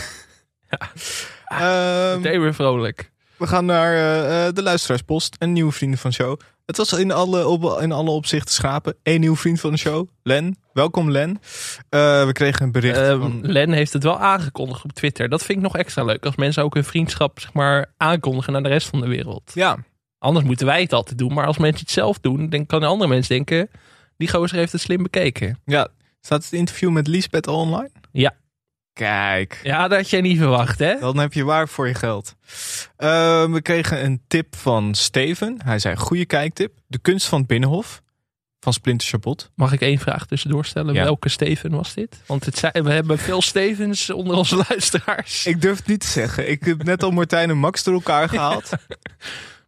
A: Ehm,
B: Meteen weer vrolijk.
A: we gaan naar eh, eh, de luisteraarspost en nieuwe vrienden van de show. Het was in alle, op, in alle opzichten schapen. Eén nieuw vriend van de show, Len. Welkom Len. Eh, we kregen een bericht
B: Ehm,
A: van...
B: Len heeft het wel aangekondigd op Twitter. Dat vind ik nog extra leuk. Als mensen ook hun vriendschap zeg maar, aankondigen naar de rest van de wereld.
A: Ja,
B: Anders moeten wij het altijd doen. Maar als mensen het zelf doen, dan kan de andere mensen denken... die gozer heeft het slim bekeken.
A: Ja, staat het interview met Liesbeth al online?
B: Ja.
A: Kijk,
B: Ja, dat had jij niet verwacht, hè?
A: dan heb je waar voor je geld. Eh, we kregen een tip van Steven. Hij zei, goede kijktip. De kunst van het Binnenhof van Splinter Chabot.
B: Mag ik één vraag tussendoor stellen?
A: Ja.
B: Welke Steven was dit? Want het zijn- we hebben veel Stevens onder onze luisteraars.
A: Ik durf het niet te zeggen. Ik heb net al Martijn en Max door elkaar gehaald.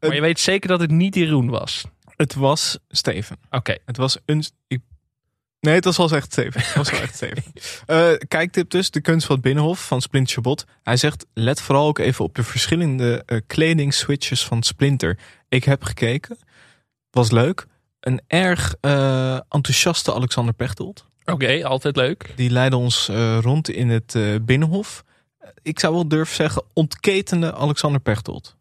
B: maar je weet zeker dat het niet Jeroen was.
A: Het was Steven.
B: Oké.
A: Het was een... ik- Nee, het was wel echt Steven. Het was wel echt Steven. Eh, kijktip dus, de kunst van het Binnenhof van Splinter Chabot. Hij zegt, let vooral ook even op de verschillende eh, kledingswitches van Splinter. Ik heb gekeken, was leuk. Een erg eh, enthousiaste Alexander Pechtold.
B: Oké, altijd leuk.
A: Die leidde ons eh, rond in het eh, Binnenhof. Ik zou wel durven zeggen, ontketende Alexander Pechtold.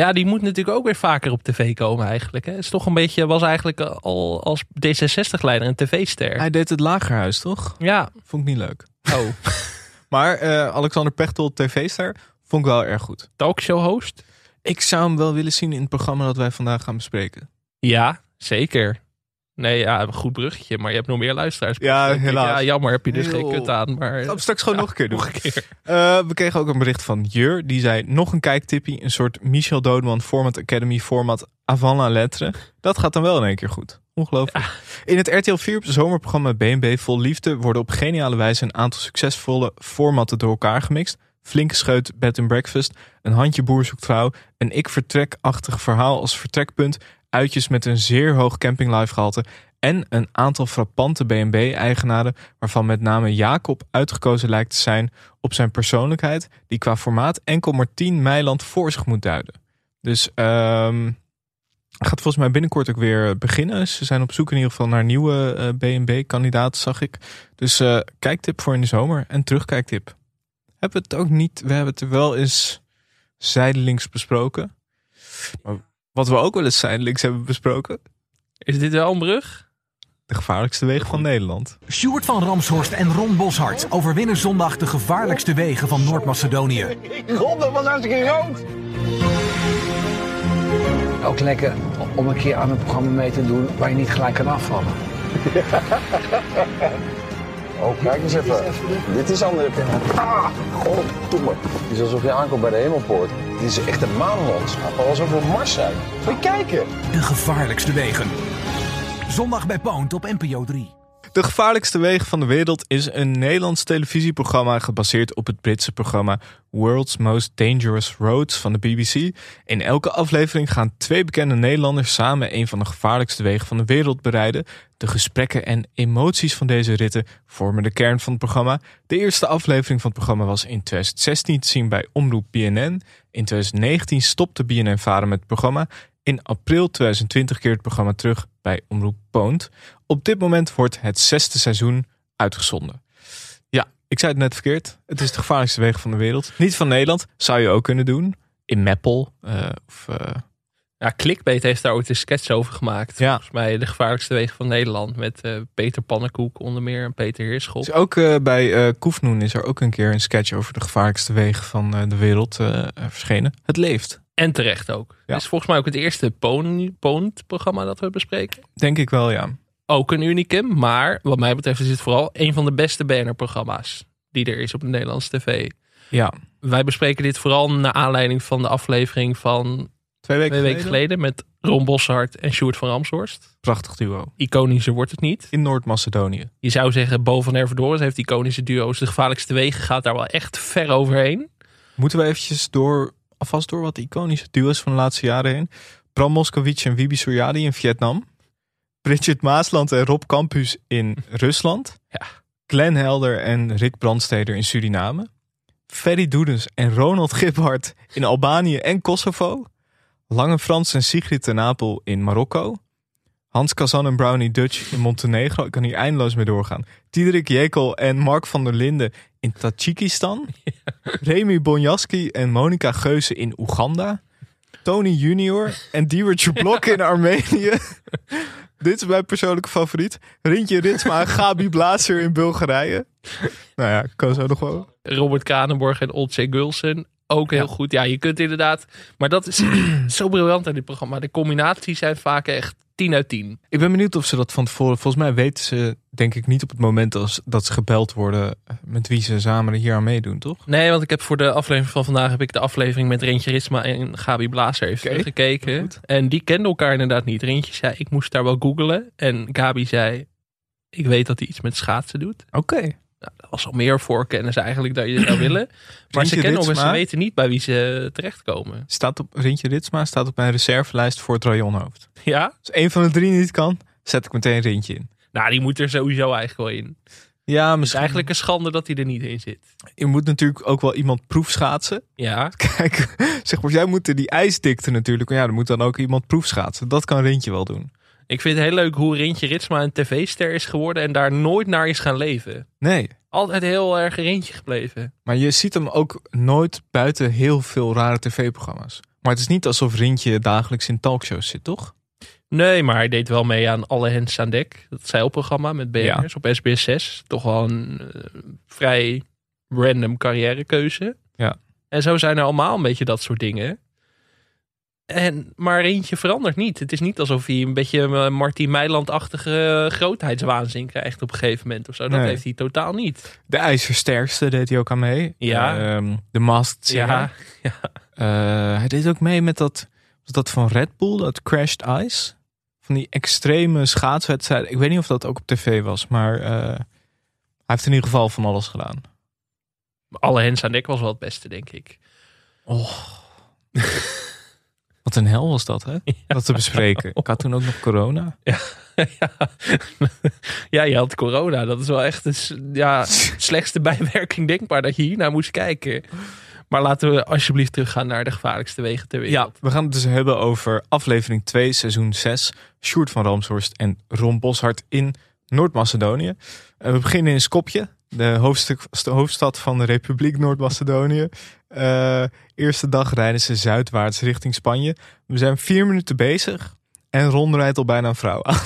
B: Ja, die moet natuurlijk ook weer vaker op tv komen eigenlijk. Hè? Het is toch een beetje, was eigenlijk al als D66-leider een tv-ster.
A: Hij deed het lagerhuis, toch?
B: Ja.
A: Vond ik niet leuk.
B: Oh,
A: Maar eh, Alexander Pechtold, tv-ster, vond ik wel erg goed.
B: talkshow-host?
A: Ik zou hem wel willen zien in het programma dat wij vandaag gaan bespreken.
B: Ja, zeker. Nee, ja, een goed bruggetje, maar je hebt nog meer luisteraars.
A: Ja, helaas.
B: Ja, jammer, heb je dus
A: Heel-
B: geen kut aan. Maar
A: Ik ga hem straks gewoon nog een keer doen.
B: nog een keer.
A: Eh, we kregen ook een bericht van Jur. Die zei nog een kijktippie. Een soort Michel Dodeman Format Academy format avant la lettre. Dat gaat dan wel in één keer goed. Ongelooflijk. In het RTL 4 zomerprogramma BNB Vol Liefde worden op geniale wijze een aantal succesvolle formatten door elkaar gemixt. Flinke scheut bed and breakfast, een handje boer zoekt vrouw, een ik vertrek-achtig verhaal als vertrekpunt, uitjes met een zeer hoog campinglife gehalte en een aantal frappante BNB-eigenaren waarvan met name Jacob uitgekozen lijkt te zijn op zijn persoonlijkheid, die qua formaat enkel Martien Meiland voor zich moet duiden. Dus ehm, gaat volgens mij binnenkort ook weer beginnen. Ze zijn op zoek in ieder geval naar nieuwe eh, BNB-kandidaten, zag ik. Dus eh, kijktip voor in de zomer en terugkijktip. Hebben we het ook niet, we hebben het er wel eens zijdelings besproken. Maar wat we ook wel eens zijdelings hebben besproken,
B: Is dit wel een brug?
A: de gevaarlijkste wegen van Nederland.
H: Sjoerd van Ramshorst en Ron Boshart overwinnen zondag de gevaarlijkste wegen van Noord-Macedonië.
G: Ook lekker om een keer aan een programma mee te doen waar je niet gelijk kan afvallen.
I: Oh, kijk eens even. Dit is andere Ah, goddomme. Het is alsof je aankomt bij de hemelpoort. Dit is echt een maanlandschap. Alsof we op Mars zijn. Moet je kijken.
H: De gevaarlijkste wegen. Zondag bij Poont op NPO 3.
A: De gevaarlijkste wegen van de wereld is een Nederlands televisieprogramma gebaseerd op het Britse programma World's Most Dangerous Roads van de BBC. In elke aflevering gaan twee bekende Nederlanders samen een van de gevaarlijkste wegen van de wereld bereiden. De gesprekken en emoties van deze ritten vormen de kern van het programma. De eerste aflevering van het programma was in 2016 te zien bij Omroep BNN. In 2019 stopte BNN Varen met het programma. In april 2020 keert het programma terug bij Omroep Poont. Op dit moment wordt het zesde seizoen uitgezonden. Ja, ik zei het net verkeerd. Het is de gevaarlijkste wegen van de wereld. Niet van Nederland, zou je ook kunnen doen. In Meppel. eh, of, eh,
B: Ja, Clickbait heeft daar ooit een sketch over gemaakt.
A: ja.
B: Volgens mij de gevaarlijkste wegen van Nederland. Met eh, Peter Pannenkoek onder meer en Peter Heerschop.
A: Dus ook eh, bij eh Koefnoen is er ook een keer een sketch over de gevaarlijkste wegen van eh, de wereld eh, eh, verschenen. Het leeft,
B: En terecht ook.
A: Ja.
B: Het is volgens mij ook het eerste Poont-programma dat we bespreken.
A: denk ik wel, ja.
B: ook een unicum. Maar wat mij betreft is het vooral een van de beste BNR-programma's die er is op de Nederlandse tv.
A: Ja,
B: Wij bespreken dit vooral naar aanleiding van de aflevering van
A: twee weken,
B: twee weken geleden met Ron Boshart en Sjoerd van Ramshorst.
A: Prachtig duo.
B: Iconischer wordt het niet.
A: In Noord-Macedonië.
B: Je zou zeggen, Bo van Hervedorens heeft iconische duo's. De gevaarlijkste wegen gaat daar wel echt ver overheen.
A: Moeten we eventjes door, alvast door wat iconische duo's van de laatste jaren heen. Bram Moskowitz en Wibi Suryadi in Vietnam. Bridget Maasland en Rob Campus in Rusland.
B: Ja.
A: Glenn Helder en Rick Brandsteder in Suriname. Ferry Doedens en Ronald Giphart in Albanië en Kosovo. Lange Frans en Sigrid ten Apel in Marokko. Hans Kazan en Brownie Dutch in Montenegro. Ik kan hier eindeloos mee doorgaan. Diederik Jekel en Mark van der Linden in Tajikistan. Remy Bonjaski en Monica Geuze in Oeganda. Tony Junior en Diewertje Blok in Armenië. Dit is mijn persoonlijke favoriet. Rintje Ritsma en Gabi Blazer in Bulgarije. Nou ja, kan zo nog wel.
B: Robert Kranenborg en Olcay Gulsen. Ook heel goed. Ja, je kunt inderdaad. Maar dat is zo briljant aan dit programma. De combinaties zijn vaak echt 10 uit 10.
A: Ik ben benieuwd of ze dat van tevoren... Volgens mij weten ze denk ik niet op het moment als, dat ze gebeld worden... eh, met wie ze samen hier aan meedoen, toch?
B: Nee, want ik heb voor de aflevering van vandaag heb ik de aflevering met Rentje Risma en Gabi Blazer even
A: Oké,
B: gekeken. En die kenden elkaar inderdaad niet. Rentje zei, ik moest daar wel googlen. En Gabi zei, ik weet dat hij iets met schaatsen doet.
A: Oké.
B: Nou, dat was al meer voorkennis eigenlijk dat je zou willen. Maar ze
A: Rintje
B: kennen elkaar, ze
A: Ritsma?
B: weten niet bij wie ze terechtkomen.
A: Staat op, Rintje Ritsma staat op mijn reservelijst voor het rajonhoofd.
B: Ja?
A: Als één van de drie niet kan, zet ik meteen Rintje in.
B: Nou, die moet er sowieso eigenlijk wel in. Het
A: Ja,
B: is
A: misschien.
B: eigenlijk een schande dat hij er niet in zit.
A: Je moet natuurlijk ook wel iemand proefschaatsen.
B: Ja.
A: Kijk, zeg maar, jij moet die ijsdikte natuurlijk. Maar ja, er moet dan ook iemand proefschaatsen. Dat kan Rintje wel doen.
B: Ik vind het heel leuk hoe Rintje Ritsma een tv-ster is geworden en daar nooit naar is gaan leven.
A: Nee,
B: Altijd heel erg Rintje gebleven.
A: maar je ziet hem ook nooit buiten heel veel rare tv-programma's. Maar het is niet alsof Rintje dagelijks in talkshows zit, toch?
B: Nee, maar hij deed wel mee aan Alle Hens aan Dek. Dat zeilprogramma met BN'ers
A: Ja.
B: op SBS6. Toch wel een eh, vrij random carrièrekeuze.
A: Ja.
B: En zo zijn er allemaal een beetje dat soort dingen. En, maar eentje verandert niet. Het is niet alsof hij een beetje een Martin Meiland-achtige eh, grootheidswaanzin krijgt op een gegeven moment of zo. Dat
A: Nee.
B: heeft hij totaal niet.
A: De IJzersterkste deed hij ook aan mee.
B: Ja.
A: Ehm, de Masked Singer.
B: Ja,
A: Eh, hij deed ook mee met dat, was dat van Red Bull, dat Crashed Ice. Van die extreme schaatswedstrijden. Ik weet niet of dat ook op tv was, maar eh, hij heeft in ieder geval van alles gedaan.
B: Alle Hens aan Dek was wel het beste, denk ik.
A: Wat een hel was dat, hè? Dat te bespreken. Ik had toen ook nog corona.
B: ja. ja, je had corona. Dat is wel echt de s- ja, slechtste bijwerking denkbaar dat je hiernaar moest kijken. Maar laten we alsjeblieft teruggaan naar de gevaarlijkste wegen ter wereld.
A: We gaan het dus hebben over aflevering 2, seizoen 6. Sjoerd van Ramshorst en Ron Boshart in Noord-Macedonië. En we beginnen in Skopje, de, hoofdstuk, de hoofdstad van de Republiek Noord-Macedonië. Eh, eerste dag rijden ze zuidwaarts richting Spanje. We zijn vier minuten bezig en Ron rijdt al bijna een vrouw aan.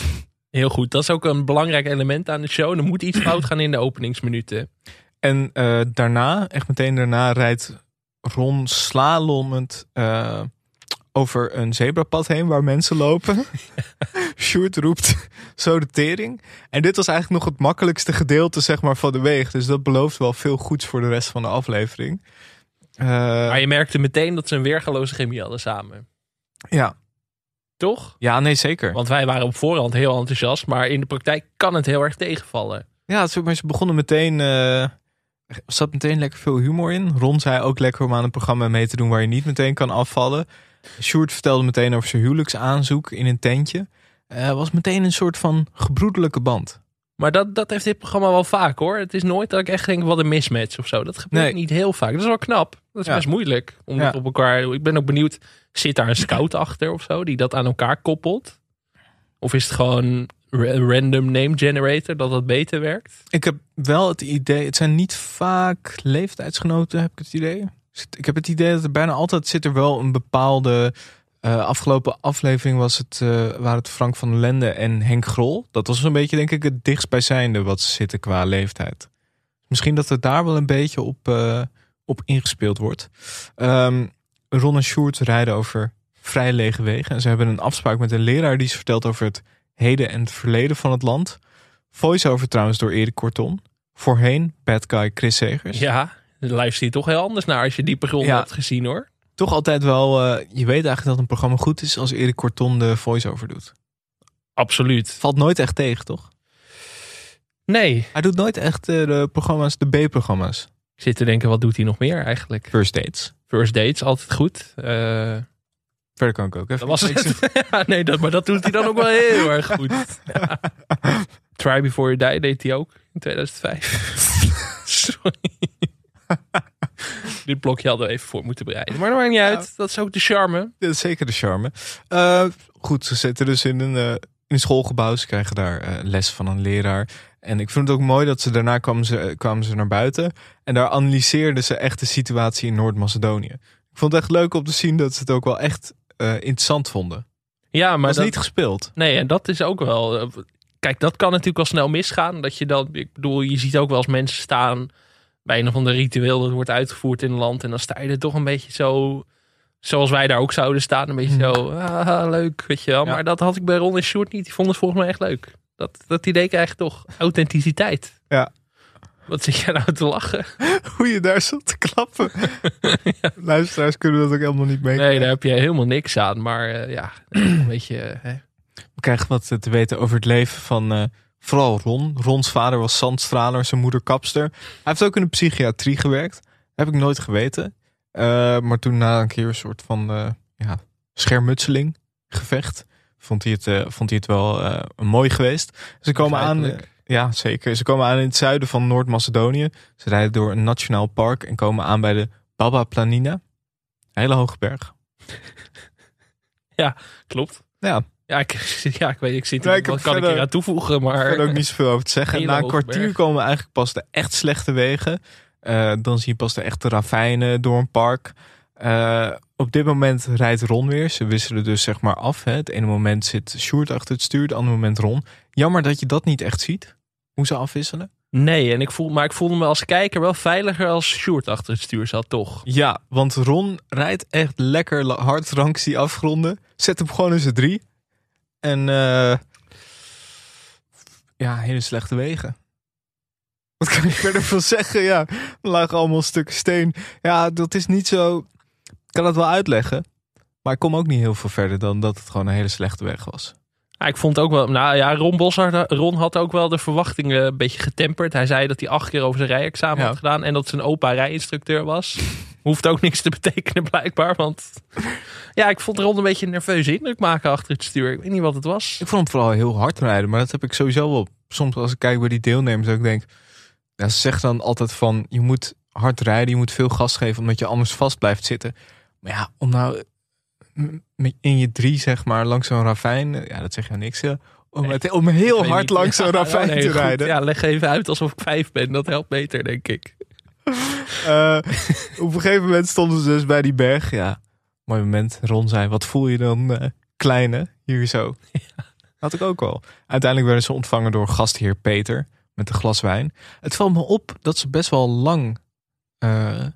B: Heel goed. Dat is ook een belangrijk element aan de show. Er moet iets fout gaan in de openingsminuten.
A: En eh, daarna, echt meteen daarna, rijdt Ron slalommend eh, over een zebrapad heen waar mensen lopen. Sjoerd roept zo de tering. En dit was eigenlijk nog het makkelijkste gedeelte zeg maar, van de weg. Dus dat belooft wel veel goeds voor de rest van de aflevering. Eh,
B: Maar je merkte meteen dat ze een weergaloze chemie hadden samen.
A: ja.
B: Toch?
A: ja, nee zeker.
B: Want wij waren op voorhand heel enthousiast. Maar in de praktijk kan het heel erg tegenvallen.
A: Ja, het is ook maar ze begonnen meteen. eh, er zat meteen lekker veel humor in. Ron zei ook lekker om aan een programma mee te doen waar je niet meteen kan afvallen. Sjoerd vertelde meteen over zijn huwelijksaanzoek in een tentje. Eh was meteen een soort van gebroedelijke band.
B: Maar dat, dat heeft dit programma wel vaak hoor. Het is nooit dat ik echt denk, wat een mismatch of zo. Dat gebeurt
A: Nee.
B: niet heel vaak. Dat is wel knap. Dat is
A: Ja.
B: best moeilijk. Om
A: Ja.
B: dat op elkaar. Ik ben ook benieuwd, zit daar een scout achter of zo? Die dat aan elkaar koppelt? Of is het gewoon ra- random name generator dat dat beter werkt?
A: Ik heb wel het idee, het zijn niet vaak leeftijdsgenoten, heb ik het idee. Dus Ik heb het idee dat er bijna altijd zit er wel een bepaalde. eh, afgelopen aflevering was het, eh, waren het Frank van der Lende en Henk Grol. Dat was een beetje, denk ik, het dichtstbijzijnde wat ze zitten qua leeftijd. Misschien dat het daar wel een beetje op, eh, op ingespeeld wordt. Ehm, Ron en Sjoerd rijden over vrij lege wegen. En ze hebben een afspraak met een leraar die ze vertelt over het heden en het verleden van het land. Voice-over trouwens door Erik Korton. Voorheen bad guy Chris Segers.
B: Ja, de luister je toch heel anders naar als je die begon
A: Ja.
B: hebt gezien hoor.
A: Toch altijd wel, eh, je weet eigenlijk dat een programma goed is als Erik Korton de voice-over doet.
B: Absoluut.
A: Valt nooit echt tegen, toch?
B: Nee.
A: Hij doet nooit echt eh, de programma's, de B-programma's.
B: Ik zit te denken, wat doet hij nog meer eigenlijk?
A: First dates.
B: First dates, altijd goed. Eh,
A: Verder kan ik ook even.
B: dat was het. ja, nee, dat, maar dat doet hij dan ook wel heel erg goed. Ja. Try Before You Die deed hij ook in 2005. Sorry. Dit blokje hadden we even voor moeten bereiden. Maar dat maakt niet uit. Dat is ook de charme.
A: Dat is zeker de charme. Eh, goed, ze zitten dus in een, eh, in een schoolgebouw. Ze krijgen daar eh, les van een leraar. En ik vond het ook mooi dat ze daarna kwamen ze, eh, kwamen ze naar buiten. En daar analyseerden ze echt de situatie in Noord-Macedonië. Ik vond het echt leuk om te zien dat ze het ook wel echt eh, interessant vonden.
B: Ja, maar
A: Maar
B: dat,
A: is niet gespeeld.
B: Nee, en dat is ook wel. eh, Kijk, dat kan natuurlijk wel snel misgaan. Dat je dan, ik bedoel, je ziet ook wel eens mensen staan bij een of ander ritueel dat wordt uitgevoerd in een land. En dan sta je er toch een beetje zo, zoals wij daar ook zouden staan, een beetje zo, ah, leuk, weet je wel.
A: Mm. Ja.
B: Maar dat had ik bij Ron en Short niet. Die vonden het volgens mij echt leuk. Dat, dat idee krijg je toch. Authenticiteit.
A: Ja.
B: Wat zit jij nou te lachen?
A: Hoe je daar zat te klappen. Luisteraars kunnen dat ook helemaal niet mee.
B: Nee, daar heb je helemaal niks aan. Maar eh, ja, een beetje... eh, hè.
A: We krijgen wat te weten over het leven van eh, vooral Ron. Rons vader was zandstraler, zijn moeder kapster. Hij heeft ook in de psychiatrie gewerkt. Dat heb ik nooit geweten. Eh, maar toen na een keer een soort van eh, ja, schermutseling gevecht. Vond hij het, eh, vond hij het wel eh, mooi geweest. Ze komen aan. eh,
B: Begrijpelijk.
A: ja, zeker. Ze komen aan in het zuiden van Noord-Macedonië. Ze rijden door een nationaal park en komen aan bij de Baba Planina. Een hele hoge berg.
B: Klopt.
A: Ja,
B: Ja, ik, ja, ik weet, ik zit
A: Nee, ik
B: wat
A: heb
B: kan ik
A: verder-
B: hier aan toevoegen, maar...
A: Ik kan er ook niet zoveel over te zeggen. En
B: Hele
A: na een
B: hoge
A: kwartier
B: berg.
A: komen eigenlijk pas de echt slechte wegen. Eh, dan zie je pas de echte ravijnen door een park. Eh, op dit moment rijdt Ron weer. Ze wisselen dus zeg maar af. Hè. Het ene moment zit Sjoerd achter het stuur, het andere moment Ron. Jammer dat je dat niet echt ziet. Hoe ze afwisselen.
B: Nee, en ik voel, maar ik voelde me als kijker wel veiliger als Sjoerd achter het stuur zat, toch?
A: Ja, want Ron rijdt echt lekker la- hard langs die afgronden. Zet hem gewoon in z'n drie. En eh, ja, hele slechte wegen. Wat kan ik verder van zeggen? Ja, er lagen allemaal stukken steen. Ja, dat is niet zo... Ik kan dat wel uitleggen. Maar ik kom ook niet heel veel verder dan dat het gewoon een hele slechte weg was.
B: Ja, ik vond ook wel, nou ja, Ron Boshart, Ron had ook wel de verwachtingen een beetje getemperd. Hij zei dat hij acht keer over zijn rijexamen
A: Ja.
B: had gedaan en dat zijn opa rijinstructeur was. Hoeft ook niks te betekenen blijkbaar, want ja, ik vond Ron een beetje een nerveuze indruk maken achter het stuur. Ik weet niet wat het was.
A: Ik vond hem vooral heel hard rijden. Maar dat heb ik sowieso wel. Soms als ik kijk bij die deelnemers. Dat ik denk. Ja, ze zeggen dan altijd van. Je moet hard rijden. Je moet veel gas geven. Omdat je anders vast blijft zitten. Maar ja, om nou. m- met- In je drie zeg maar. Langs zo'n ravijn. eh, Ja, dat zeg je niks. eh, Om, het- om
B: Ik
A: heel
B: weet
A: hard
B: niet.
A: langs zo'n
B: Ja,
A: ravijn
B: nee,
A: te
B: goed.
A: rijden.
B: Ja, leg even uit alsof ik vijf ben. Dat helpt beter, denk ik.
A: Eh, op een gegeven moment stonden ze dus bij die berg. Ja, mooi moment. Ron zei, wat voel je dan eh, kleine? Hier zo. Had ik ook al. Uiteindelijk werden ze ontvangen door gastheer Peter met een glas wijn. Het valt me op dat ze best wel lang eh,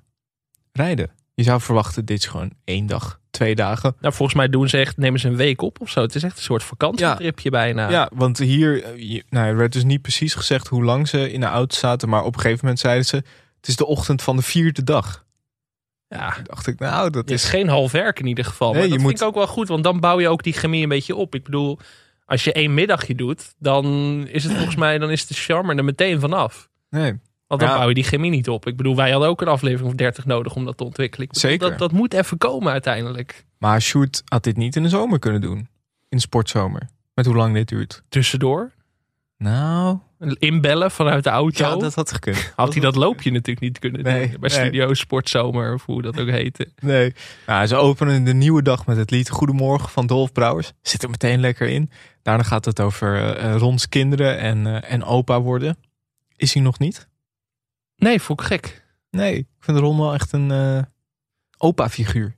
A: rijden. Je zou verwachten, dit is gewoon één dag, twee dagen.
B: Nou, volgens mij doen ze echt, nemen ze een week op of zo. Het is echt een soort vakantietripje bijna.
A: Ja, want hier eh, je- nou, er werd dus niet precies gezegd hoe lang ze in de auto zaten. Maar op een gegeven moment zeiden ze, het is de ochtend van de vierde dag.
B: ja.
A: Toen dacht ik, nou, dat
B: Het is
A: is...
B: geen half werk in ieder geval.
A: Nee,
B: maar dat
A: je
B: vind
A: moet-
B: ik ook wel goed, want dan bouw je ook die chemie een beetje op. Ik bedoel, als je één middagje doet, dan is het volgens mij dan is de charme er meteen vanaf.
A: Nee.
B: Want dan
A: Ja.
B: bouw je die chemie niet op. Ik bedoel, wij hadden ook een aflevering of 30 nodig om dat te ontwikkelen. Ik bedoel,
A: Zeker.
B: Dat, dat moet even komen uiteindelijk.
A: Maar Sjoerd had dit niet in de zomer kunnen doen. In de sportzomer. Met hoe lang dit duurt.
B: Tussendoor.
A: Nou,
B: Inbellen vanuit de auto.
A: ja, dat had gekund.
B: Had hij dat loopje natuurlijk niet kunnen
A: Nee,
B: doen. Bij
A: nee.
B: Studio Sportzomer of hoe dat ook heette.
A: Nee. Nou, ze openen de nieuwe dag met het lied Goedemorgen van Dolf Brouwers. Zit er meteen lekker in. Daarna gaat het over eh, eh, Rons kinderen en, eh, en opa worden. Is hij nog niet?
B: Nee, vond ik gek.
A: Nee, ik vind Ron wel echt een eh, opa-figuur.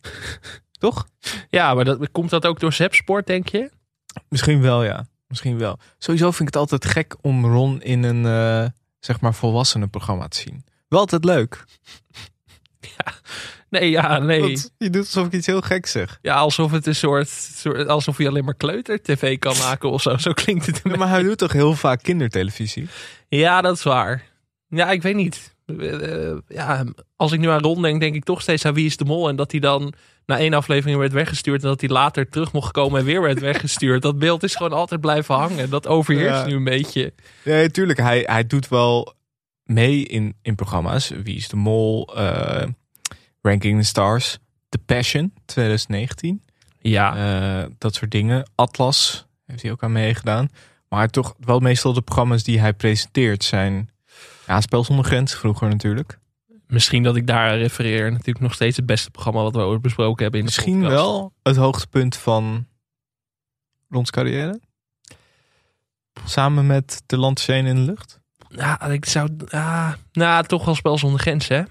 A: Toch?
B: Ja, maar dat, komt dat ook door Zepsport, denk je?
A: Misschien wel, ja. Misschien wel. Sowieso vind ik het altijd gek om Ron in een, eh zeg maar, volwassenenprogramma te zien. Wel altijd leuk.
B: Nee, ja, nee.
A: Want je doet alsof ik iets heel gek zeg.
B: Ja, alsof het een soort, soort- Alsof je alleen maar kleuter-tv kan maken of zo. Zo klinkt het. een
A: Maar hij doet toch heel vaak kindertelevisie?
B: Ja, dat is waar. Ja, ik weet niet. Eh, eh, ja, als ik nu aan Ron denk, denk ik toch steeds aan Wie is de Mol. En dat hij dan na één aflevering werd weggestuurd. En dat hij later terug mocht komen en weer werd weggestuurd. Dat beeld is gewoon altijd blijven hangen. Dat overheerst
A: Ja.
B: nu een beetje.
A: Nee, tuurlijk. Hij, hij doet wel mee in, in programma's. Wie is de Mol? eh, Ranking the Stars. The Passion 2019.
B: Ja,
A: Eh, dat soort dingen. Atlas heeft hij ook aan meegedaan. Maar toch wel meestal de programma's die hij presenteert zijn... Ja, Spel zonder Grenzen vroeger natuurlijk.
B: misschien dat ik daar aan refereer. Natuurlijk nog steeds het beste programma wat we ooit besproken hebben. In de
A: Misschien
B: podcast.
A: wel het hoogtepunt van Rons carrière. Samen met De Landscène in de Lucht.
B: Ja, ik zou... ah, nou, toch wel Spel zonder grenzen, hè?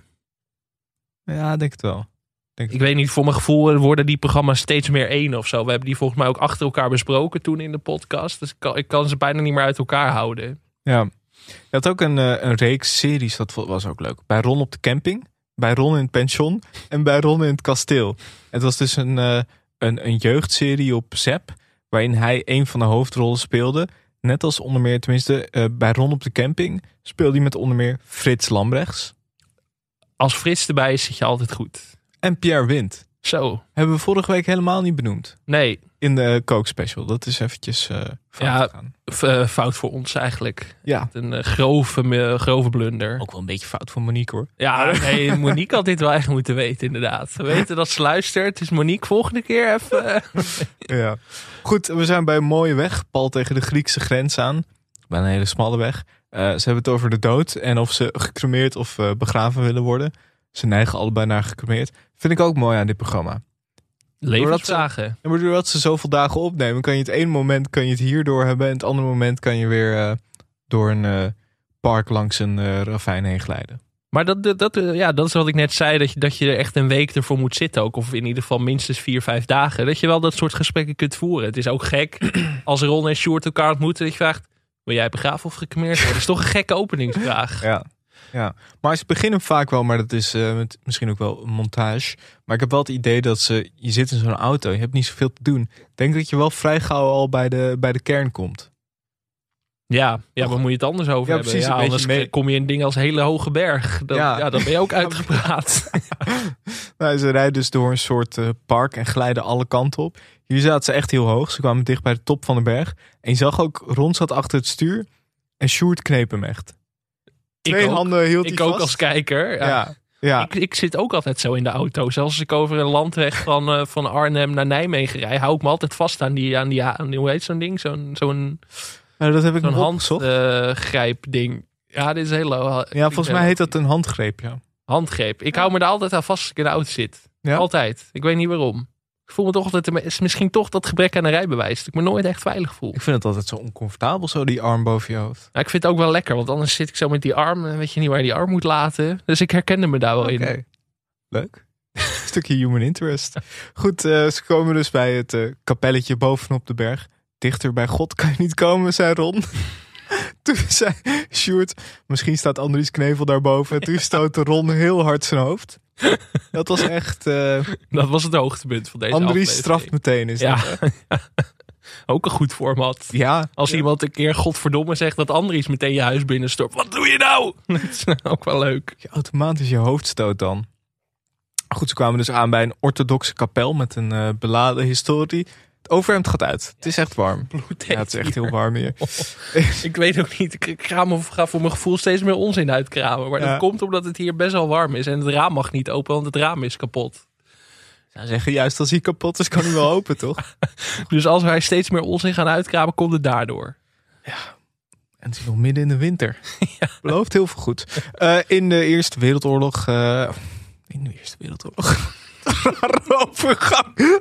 A: Ja, ik denk het wel.
B: Ik weet niet, voor mijn gevoel worden die programma's steeds meer één of zo. We hebben die volgens mij ook achter elkaar besproken toen in de podcast. Dus ik kan, ik kan ze bijna niet meer uit elkaar houden.
A: Ja. Je had ook een, eh, een reeks series, dat vo- was ook leuk. Bij Ron op de camping, bij Ron in het pension en bij Ron in het kasteel. Het was dus een, eh, een, een jeugdserie op Zep, waarin hij een van de hoofdrollen speelde. Net als onder meer, tenminste, eh, bij Ron op de camping speelde hij met onder meer Frits Lambrechts
B: Als Frits erbij is, zit je altijd goed.
A: en Pierre Wind.
B: Zo.
A: Hebben we vorige week helemaal niet benoemd
B: Nee,
A: in de Coke Special. Dat is eventjes eh fout
B: Ja.
A: gegaan.
B: f- eh, fout voor ons eigenlijk.
A: Ja,
B: Een eh, grove, me- grove blunder.
A: ook wel een beetje fout van Monique hoor.
B: Ja, nee, Monique had dit wel echt moeten weten, inderdaad. We weten dat ze luistert. Dus Monique, volgende keer even. eh,
A: Ja. Goed, we zijn bij een mooie weg, pal tegen de Griekse grens aan. Bij een hele smalle weg. Eh, ze hebben het over de dood en of ze gecremeerd of eh, begraven willen worden. Ze neigen allebei naar gecremeerd. Vind ik ook mooi aan dit programma.
B: Levensvragen.
A: En maar doordat ze zoveel dagen opnemen, kan je het ene moment kan je het hierdoor hebben. En het andere moment kan je weer eh, door een eh, park langs een eh, ravijn heen glijden.
B: Maar dat, dat, dat, eh, ja, dat is wat ik net zei, dat je, dat je er echt een week ervoor moet zitten ook. Of in ieder geval minstens vier, vijf dagen. Dat je wel dat soort gesprekken kunt voeren. Het is ook gek als Ron en Sjoerd elkaar ontmoeten. Dat je vraagt, wil jij begraven of gecremeerd worden? Dat is toch een gekke openingsvraag.
A: Ja. ja. Maar ze beginnen vaak wel, maar dat is eh, met misschien ook wel een montage. Maar ik heb wel het idee dat ze, je zit in zo'n auto, je hebt niet zoveel te doen. Ik denk dat je wel vrij gauw al bij de, bij de kern komt.
B: Ja, ja waar moet je het anders over
A: Ja,
B: hebben?
A: precies,
B: ja,
A: een beetje
B: anders
A: mee-
B: kom je in dingen als hele hoge berg. Dat, ja.
A: Ja.
B: dan ben je ook uitgepraat.
A: Nou, ze rijden dus door een soort eh, park en glijden alle kanten op. Hier zaten ze echt heel hoog. Ze kwamen dicht bij de top van de berg. En je zag ook, Ron zat achter het stuur en Sjoerd kneep hem echt.
B: ik
A: Twee
B: ook,
A: handen hield
B: ik
A: hij
B: ook
A: vast.
B: als kijker. Ja.
A: Ja, ja.
B: Ik, ik zit ook altijd zo in de auto. Zelfs als ik over een landweg van, eh, van Arnhem naar Nijmegen rij, hou ik me altijd vast aan die, aan die, aan die hoe heet zo'n ding? Zo'n zo'n
A: Nou, dat heb ik
B: zo'n eh,
A: nog opgezocht.
B: handgrijp ding. Ja, dit is heel low.
A: ja, volgens
B: eh,
A: mij heet dat een handgreep, ja.
B: handgreep. Ik hou me daar altijd aan vast als ik in de auto zit.
A: Ja?
B: Altijd. Ik weet niet waarom. Ik voel me toch altijd, het is misschien toch dat gebrek aan een rijbewijs. Dat ik me nooit echt veilig voel.
A: Ik vind het altijd zo oncomfortabel, zo die arm boven je hoofd.
B: Nou, ik vind het ook wel lekker, want anders zit ik zo met die arm en weet je niet waar je die arm moet laten. Dus ik herkende me daar wel
A: Oké.
B: in.
A: Leuk. Stukje human interest. Goed, eh, ze komen dus bij het eh, kapelletje bovenop de berg. Dichter bij God kan je niet komen, zei Ron. Toen zei Sjoerd, misschien staat Andries Knevel daarboven. En toen stootte Ron heel hard zijn hoofd. Dat was echt... eh,
B: Dat was het hoogtepunt van deze
A: Andries straft meteen.
B: aflevering.
A: Is dat, hè?
B: Ja. ook een goed format.
A: ja,
B: Als iemand een keer godverdomme zegt dat Andries meteen je huis binnenstort. Wat doe je nou? Dat is ook wel leuk.
A: je automatisch je hoofd stoot dan. Goed, ze kwamen dus aan bij een orthodoxe kapel met een eh, beladen historie. Het overhemd gaat uit. Het is echt warm. Ja, het is echt heel warm hier.
B: Ik weet ook niet. Ik kraam of ga voor mijn gevoel steeds meer onzin uitkramen. Maar
A: Ja.
B: dat komt omdat het hier best wel warm is. En het raam mag niet open, want het raam is kapot.
A: zou zeggen, juist als hij kapot is, kan hij wel open, toch?
B: Dus als wij steeds meer onzin gaan uitkramen, komt het daardoor.
A: En het is nog midden in de winter. Belooft heel veel goed. Eh, in de Eerste Wereldoorlog... eh, in de Eerste Wereldoorlog... Rare overgang.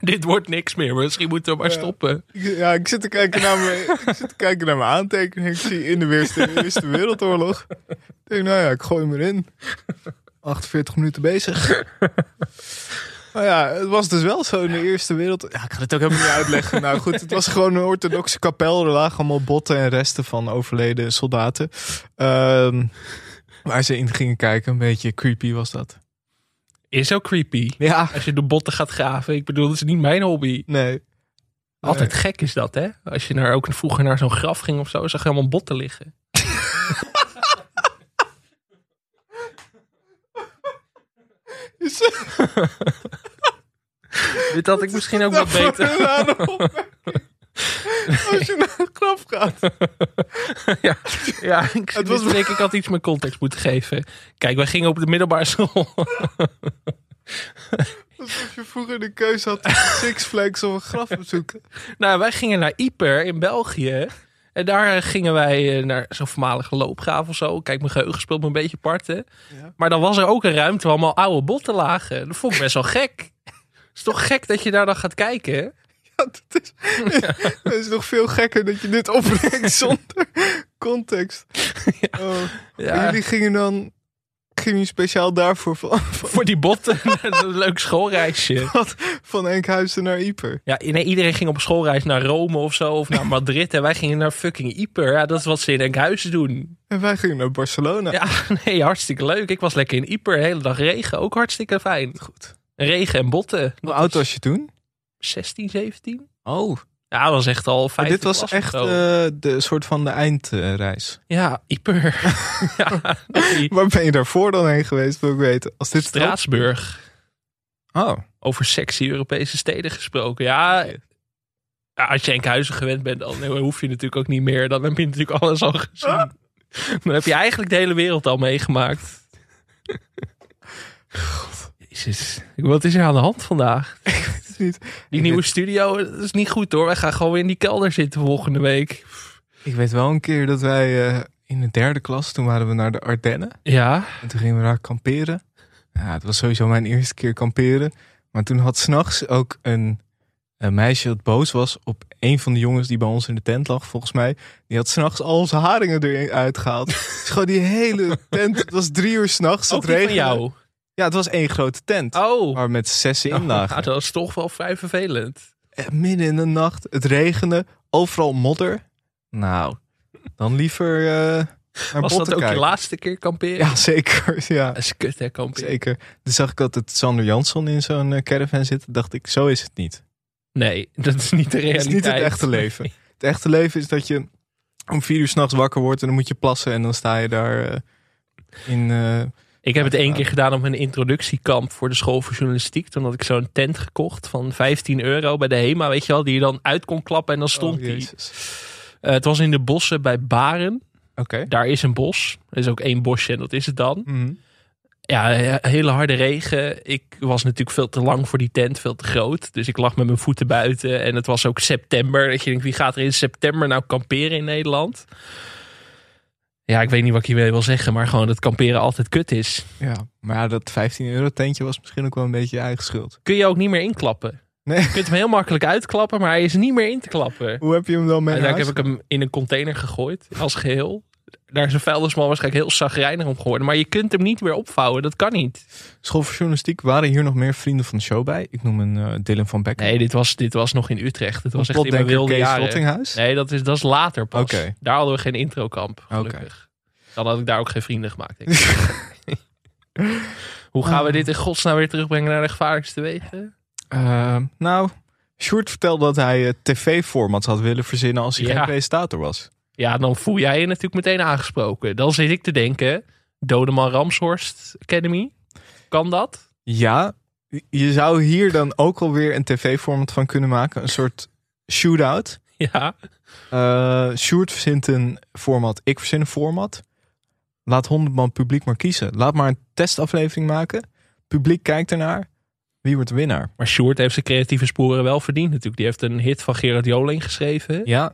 B: Dit wordt niks meer. Misschien moeten we maar stoppen.
A: Ja, ik zit, te kijken naar mijn, ik zit te kijken naar mijn aantekeningen. Ik zie in de Eerste, Eerste Wereldoorlog. Ik denk, nou ja, ik gooi hem erin. 48 minuten bezig. Nou ja, het was dus wel zo in de Eerste Wereld. Ja, ik ga het ook helemaal niet uitleggen. Nou goed, het was gewoon een orthodoxe kapel. Er lagen allemaal botten en resten van overleden soldaten. Ehm, Waar ze in gingen kijken, een beetje creepy was dat.
B: Is ook creepy.
A: Ja,
B: Als je door botten gaat graven. Ik bedoel, dat is niet mijn hobby.
A: nee.
B: Altijd gek is dat, hè? Als je naar, ook vroeger naar zo'n graf ging of zo, zag je allemaal botten liggen. Dit had ik misschien ook
A: nou
B: wel beter.
A: Als je naar een graf gaat.
B: ja, ja ik, het was
A: was-
B: denk ik had iets meer context moeten geven. Kijk, wij gingen op de middelbare school.
A: Alsof je vroeger de keuze had tussen Six Flags of een graf bezoeken.
B: nou, wij gingen naar Ieper in België. En daar eh, gingen wij eh, naar zo'n voormalige loopgraaf of zo. Kijk, mijn geheugen speelt me een beetje part. hè. Maar dan was er ook een ruimte waar allemaal oude botten lagen. Dat vond ik best wel gek. Het is toch gek dat je daar dan gaat kijken?
A: Dat is, dat is nog veel gekker dat je dit opbrengt zonder context. Oh.
B: Ja.
A: En Jullie gingen dan gingen jullie speciaal daarvoor van,
B: Voor die botten. een leuk schoolreisje.
A: van, van Enkhuizen naar Ieper.
B: Ja, nee, iedereen ging op schoolreis naar Rome of zo. Of naar Madrid. En wij gingen naar fucking Ieper. Ja, dat is wat ze in Enkhuizen doen.
A: En wij gingen naar Barcelona.
B: Ja, nee, hartstikke leuk. Ik was lekker in Ieper, de hele dag regen. Ook hartstikke fijn. Goed. Regen en botten.
A: Hoe oud was je toen?
B: 16, 17?
A: Oh,
B: Ja, dat was echt al
A: maar
B: vijf.
A: dit was echt eh, de soort van de eindreis.
B: Ja, Ieper. ja, nee.
A: Waar ben je daarvoor dan heen geweest, wil ik weten. Als dit
B: Straatsburg.
A: Oh,
B: Over sexy Europese steden gesproken. Ja, ja, als je Enkhuizen gewend bent, dan eh, hoef je natuurlijk ook niet meer. Dan heb je natuurlijk alles al
A: Ah.
B: gezien. Dan heb je eigenlijk de hele wereld al meegemaakt. Jezus, wat is er aan de hand vandaag?
A: het is niet.
B: Die
A: Ik
B: nieuwe studio dat is niet goed hoor. Wij gaan gewoon weer in die kelder zitten volgende week.
A: Ik weet wel een keer dat wij eh, in de derde klas, toen waren we naar de Ardennen.
B: Ja.
A: En toen gingen we daar kamperen. Ja, het was sowieso mijn eerste keer kamperen. Maar toen had s'nachts ook een, een meisje dat boos was op een van de jongens die bij ons in de tent lag, volgens mij. Die had s'nachts al zijn haringen eruit gehaald. dus gewoon die hele tent. Het was drie uur s'nachts.
B: Ook
A: Het
B: die van
A: regende.
B: jou.
A: Ja, het was één grote tent.
B: Oh.
A: Waar met zessen in lagen.
B: Ja, dat is toch wel vrij vervelend.
A: Eh, Midden in de nacht, het regende, overal modder. Nou, dan liever eh naar
B: Was
A: botten
B: dat ook je Eh,
A: kijken.
B: laatste keer kamperen?
A: Ja, zeker. Ja.
B: Dat is kut hè, kamperen.
A: Zeker. Toen zag ik altijd Sander Jansson in zo'n eh, caravan zitten. Dacht ik, zo is het niet.
B: Nee, dat is niet de
A: Het
B: realiteit.
A: is niet het echte leven. Het echte leven is dat je om vier uur s'nachts wakker wordt en dan moet je plassen. En dan sta je daar eh, in. eh,
B: Ik heb het één keer gedaan op een introductiekamp voor de school voor journalistiek. Toen had ik zo'n tent gekocht van 15 euro bij de HEMA, weet je wel. Die je dan uit kon klappen en dan stond
A: oh,
B: die.
A: Jezus.
B: Eh, het was in de bossen bij Baren.
A: Oké.
B: Daar is een bos. Er is ook één bosje en dat is het dan.
A: Mhm.
B: Ja, he- hele harde regen. Ik was natuurlijk veel te lang voor die tent, veel te groot. Dus ik lag met mijn voeten buiten. En het was ook september. Dat je denkt, wie gaat er in september nou kamperen in Nederland? Ja, ik weet niet wat ik hiermee wil zeggen, maar gewoon dat kamperen altijd kut is.
A: Ja. Maar ja, dat 15 euro tentje was misschien ook wel een beetje je eigen schuld.
B: Kun je ook niet meer inklappen.
A: Nee.
B: Je kunt hem heel makkelijk uitklappen, maar hij is niet meer in te klappen.
A: Hoe heb je hem dan mee? naar
B: Uiteindelijk
A: huis
B: heb ik hem in een container gegooid, als geheel. Daar is een vuilnisman waarschijnlijk heel zagrijnig om geworden. Maar je kunt hem niet weer opvouwen, dat kan niet.
A: School voor journalistiek waren hier nog meer vrienden van de show bij. Ik noem een eh, Dylan van Becker.
B: Nee, dit was, dit was nog in Utrecht. Het was echt in mijn
A: Plotdenker
B: wilde
A: Kees
B: jaren.
A: Rottinghuis.
B: Nee, dat is, dat is later pas.
A: Oké.
B: Daar hadden we geen introkamp, gelukkig. Dan had ik daar ook geen vrienden gemaakt. Denk ik. Hoe gaan we dit in godsnaam weer terugbrengen naar de gevaarlijkste wegen?
A: Ehm, nou, Sjoerd vertelde dat hij eh, tv-formats had willen verzinnen als hij
B: Ja.
A: geen presentator was.
B: Ja, dan voel jij je natuurlijk meteen aangesproken. Dan zit ik te denken, Dodeman Ramshorst Academy, kan dat?
A: Ja, je zou hier dan ook alweer een tv-format van kunnen maken. Een soort shootout.
B: Ja,
A: Eh Sjoerd verzint een format, ik verzin een format. Laat 100 man publiek maar kiezen. Laat maar een testaflevering maken. Publiek kijkt ernaar. Wie wordt de winnaar?
B: maar Sjoerd heeft zijn creatieve sporen wel verdiend natuurlijk. Die heeft een hit van Gerard Joling geschreven.
A: Ja,